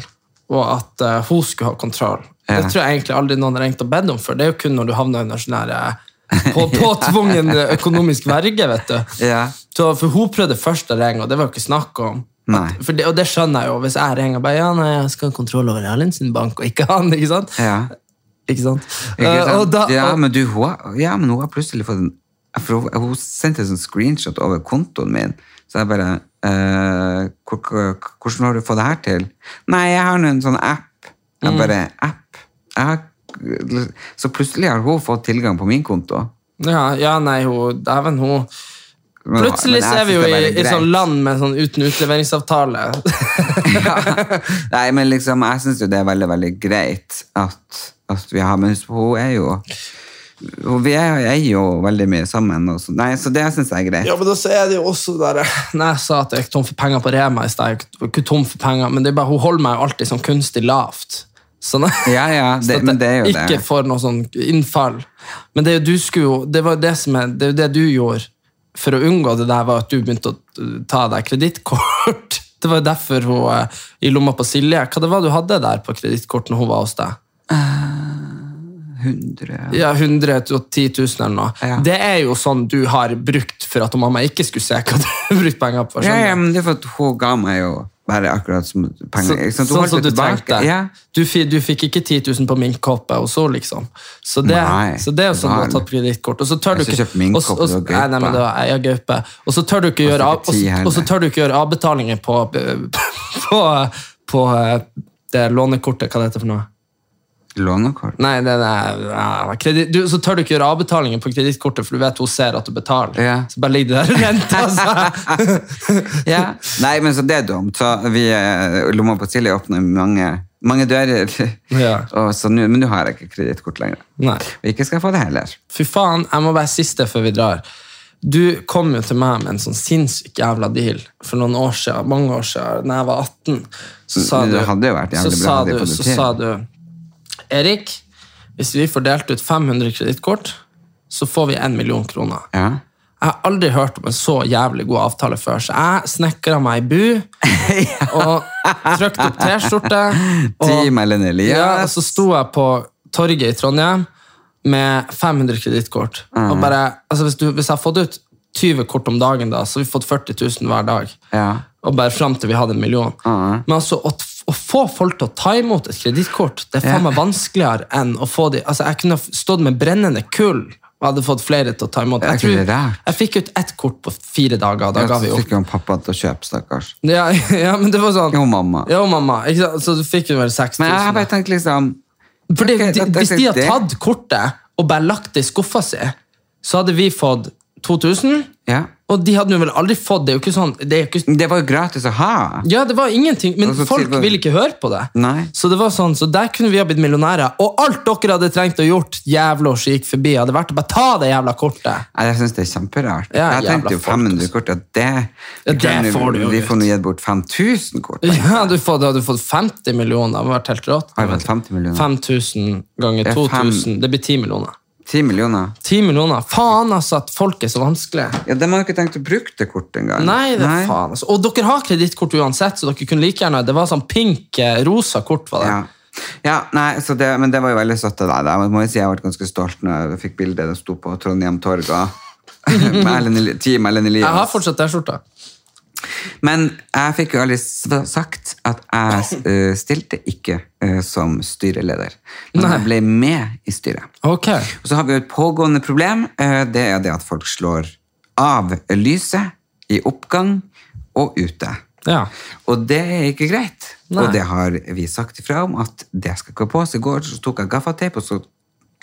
S2: og at eh, hun skulle ha kontroll.
S1: Ja.
S2: Det tror jeg egentlig aldri noen har ringt og bedt om før. Det er jo kun når du havner under sånn her eh, på, påtvungen økonomisk verge, vet du.
S1: Ja.
S2: Så, for hun prøvde først å ringe, og det var jo ikke snakk om.
S1: Nei.
S2: At, for det, og det skjønner jeg jo, hvis jeg ringer og bare, ja, nei, jeg skal ha kontroll over Erlend sin bank, og ikke han, ikke sant?
S1: Ja.
S2: Ikke sant?
S1: Ikke
S2: Eh, og
S1: sant?
S2: da,
S1: ja,
S2: og-
S1: men du, hun, har- ja, men hun har plutselig fått en for hun, hun sendte en sånn screenshot over kontoen min, så jeg bare eh, hvor- hvor- Hvordan har du fått det her til? Nei, jeg har nå en sånn app.
S2: Mm.
S1: Jeg bare App? Jeg har, så plutselig har hun fått tilgang på min konto.
S2: ja, ja, nei, hun, dæven, hun,
S1: Men- men
S2: Plutselig
S1: jeg
S2: så er
S1: synes
S2: vi jo
S1: det er
S2: i,
S1: veldig
S2: i sånn
S1: greit.
S2: land med sånn uten utleveringsavtale.
S1: ja. Nei, men liksom, jeg syns jo det er veldig, veldig greit at, at vi har med hus på. Hun er jo hun, Vi er, er jo veldig mye sammen, og så, nei, så det syns jeg er greit.
S2: Ja, men da så er det jo også der Når jeg sa at jeg gikk tom for penger på Rema i sted, jeg gikk ikke tom for penger, men det er bare, hun holder meg jo alltid sånn kunstig lavt. Sånn,
S1: Ja, ja, det-
S2: så at
S1: men det er jo
S2: jeg
S1: det.
S2: ikke får noe sånn innfall. Men det er jo du skulle jo Det var jo det som er, det er jo det du gjorde for å unngå det der, var at du begynte å t- ta deg kredittkort. Det var jo derfor hun eh, i lomma på Silje Hva det var du hadde der på kredittkort når hun var hos deg?
S1: 100.
S2: Ja, 110 000 eller noe.
S1: Ja.
S2: Det er jo sånn du har brukt for at mamma ikke skulle se hva du har brukt penger på.
S1: Ja,
S2: skjønner
S1: ja,
S2: du?
S1: men det er for at hun ga meg jo bare akkurat som penger. ikke sant? Hun
S2: sånn
S1: holdt
S2: som
S1: jo
S2: du
S1: tilbake.
S2: trengte.
S1: Ja.
S2: Du, fi- du fikk ikke 10 000 på minkkoppe og så, liksom. Så det,
S1: Nei,
S2: så det er jo sånn du har
S1: vel.
S2: tatt kredittkort. Og så tør du
S1: Jeg skal
S2: ikke
S1: kjøpe minkkoppe,
S2: og- og-
S1: det var
S2: Nei, nei, men det var jeg har gaupe. Og så tør du ikke gjøre, av- og
S1: ikke ti
S2: så- og så
S1: heller.
S2: tør du ikke gjøre avbetalinger på, på, på eh, det lånekortet. Hva det heter for noe?
S1: Lånekort.
S2: Nei, det, det, ja, kredit, du, så tør du ikke gjøre avbetalinger på kredittkortet, for du vet hun ser at du betaler.
S1: Ja.
S2: Så bare ligger det der og renter. Altså.
S1: Ja. Nei, men så det er dumt. Så vi, eh, Lomma på Silje åpner mange, mange dører.
S2: Ja.
S1: Og så nå- men nå har jeg ikke kredittkort lenger.
S2: Nei.
S1: Og ikke skal jeg få det heller.
S2: Fy faen, jeg må være siste før vi drar. Du kom jo til meg med en sånn sinnssyk jævla deal for noen år siden, mange år siden, da jeg var 18. Så sa
S1: Men
S2: du,
S1: det hadde jo vært jævlig
S2: så
S1: bra
S2: sa
S1: hadde
S2: du,
S1: jeg fått det
S2: så
S1: til.
S2: sa du Erik, hvis vi får delt ut 500 kredittkort, så får vi 1 million kroner.
S1: Ja.
S2: Jeg har aldri hørt om en så jævlig god avtale før, så jeg snekra meg i bu og trykte opp T-skjorte. og-
S1: Team Ellen Elias.
S2: Ja, og så sto jeg på torget i Trondheim med 500 kredittkort. Og bare, altså hvis, du, hvis jeg har fått ut 20 kort om dagen, da, så har vi fått 40 000 hver dag.
S1: Ja.
S2: Og bare fram til vi hadde en million. Men altså, å, t- å få folk til å ta imot et kredittkort, det er faen meg vanskeligere enn å få de Altså, jeg kunne ha f- stått med brennende kull og hadde fått flere til å ta imot.
S1: Det er
S2: Jeg,
S1: ikke det
S2: tror,
S1: rart.
S2: jeg fikk ut ett kort på fire dager, og da
S1: Jeg
S2: ga vi
S1: fikk
S2: opp.
S1: jo en pappa til å kjøpe, stakkars.
S2: Ja, ja, men det var sånn
S1: Jo, mamma.
S2: Jo, mamma. Ikke sant? Så du fikk jo vel 6000.
S1: Men jeg har bare tenkt liksom
S2: Fordi
S1: Ok,
S2: de,
S1: da- da
S2: Hvis de
S1: tenkte
S2: hadde
S1: jeg-
S2: tatt kortet og bare lagt det i skuffa si, så hadde vi fått 2000,
S1: Ja.
S2: og de hadde jo vel aldri fått det. er jo ikke sånn, det er jo ikke,
S1: Det var jo gratis å ha.
S2: ja, det var ingenting, men
S1: Og så
S2: folk
S1: Altså, til-
S2: ville ikke høre på det.
S1: Nei.
S2: Så det var sånn, så der kunne vi ha blitt millionærer. Og alt dere hadde trengt å gjort, jævla som gikk forbi, hadde vært å bare ta det jævla kortet.
S1: Nei, Jeg syns det er kjemperart.
S2: Ja,
S1: jeg tenkte
S2: jævla
S1: jo
S2: folk,
S1: 500 kort, ja, det,
S2: Ja, det får du jo
S1: Vi
S2: ut.
S1: får nå gitt bort 5000 kort.
S2: Ja, hadde du fått, hadde du fått 50 millioner, det hadde vært helt rått.
S1: Har jeg fått 50 millioner?
S2: 5000 ganger
S1: Det er fem-
S2: 2000, det blir 10 millioner.
S1: 10 millioner.
S2: 10 millioner. Faen, altså, at folk er så vanskelige.
S1: Ja, De har jo ikke tenkt å bruke det kortet engang.
S2: Nei, det er faen. Altså. Og dere har kredittkort uansett, så dere kunne like gjerne Det var sånn pink, eh, rosa kort, var det.
S1: Ja. Ja, nei, så det, men det var jo veldig søtt av deg. da. Jeg må jo si jeg ble ganske stolt når jeg fikk bildet det sto på Trondheim Torg. og- Med Ellen, Eli- team Ellen Elias.
S2: Jeg har fortsatt T-skjorta.
S1: Men jeg fikk jo aldri s- sagt at jeg eh, stilte ikke eh, som styreleder. Men
S2: Nei.
S1: jeg ble med i styret.
S2: Ok.
S1: Og så har vi jo et pågående problem. eh, Det er det at folk slår av lyset i oppgang og ute.
S2: Ja.
S1: Og det er ikke greit.
S2: Nei.
S1: Og det har vi sagt ifra om at det skal ikke på. Så i går så tok jeg gaffateip og så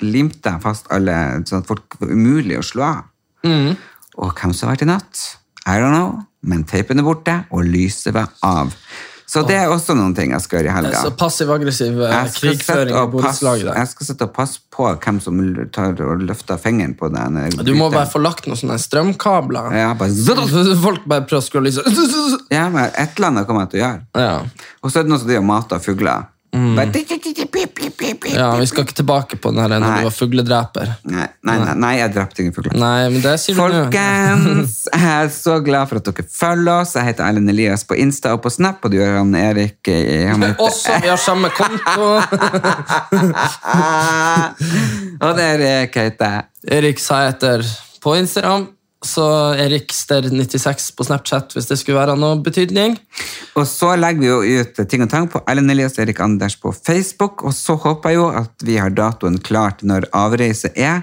S1: limte jeg fast alle, sånn at folk var umulig å slå av.
S2: Mm.
S1: Og hvem som har vært i natt? I don't know. Men teipen er borte, og lyset var av. Så det er også noen ting jeg skal gjøre i helga.
S2: Så passiv-aggressiv eh,
S1: Jeg skal
S2: krigføring
S1: sette
S2: i
S1: og passe-
S2: borettslaget der.
S1: jeg skal sitte og passe på hvem som l- tar og løfter fingeren på den. eh,
S2: Du
S1: bryteren.
S2: må bare få lagt noen sånne strømkabler.
S1: Ja, bare zzzz.
S2: Folk bare prøver å skru av lyset.
S1: ja, men et eller annet kommer jeg til å gjøre.
S2: Ja.
S1: Og så er det noen som driver og mater fugler. Bare tikk, tikk, tikk, pip, pip, pip, pip.
S2: Mm. ja, Vi skal ikke tilbake på den her når
S1: Nei.
S2: du var fugledreper.
S1: Nei, nei, nei, nei, jeg drepte ingen fugler.
S2: Nei, men det sier du nå.
S1: Folkens, jeg er så glad for at dere følger oss. Jeg heter Erlend Elias på Insta og på Snap, og du gjør han Erik i- han heter-
S2: Også, vi har samme konto.
S1: Og det er Erik heter
S2: Erik sa etter på Instagram. Så Erikster96 på Snapchat, hvis det skulle være noe betydning.
S1: Og så legger vi jo ut ting og tang på Erlend Elias og Erik Anders på Facebook, og så håper jeg jo at vi har datoen klart når avreise er,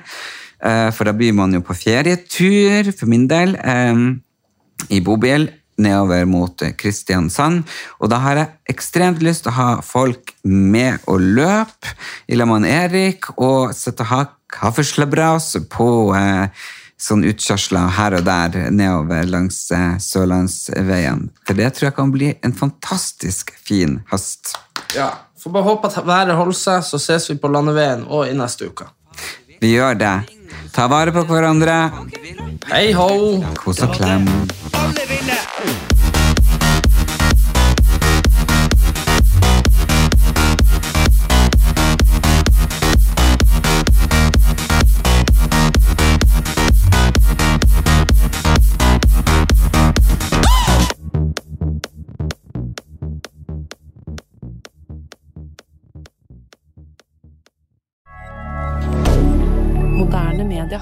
S1: Eh, for da blir man jo på ferietur, for min del, eh, i bobil, nedover mot eh, Kristiansand, og da har jeg ekstremt lyst til å ha folk med å løpe, i lag med han Erik, og sitte og ha kaffeslabras på eh, sånn utkjørsler her og der nedover langs eh, Sørlandsveien. For det tror jeg kan bli en fantastisk fin høst.
S2: Ja. Får bare håpe at været holder seg, så ses vi på landeveien og i neste uke.
S1: Vi gjør det. Ta vare på hverandre.
S2: Hei ho!
S1: Kos og klem.
S3: Moderne media.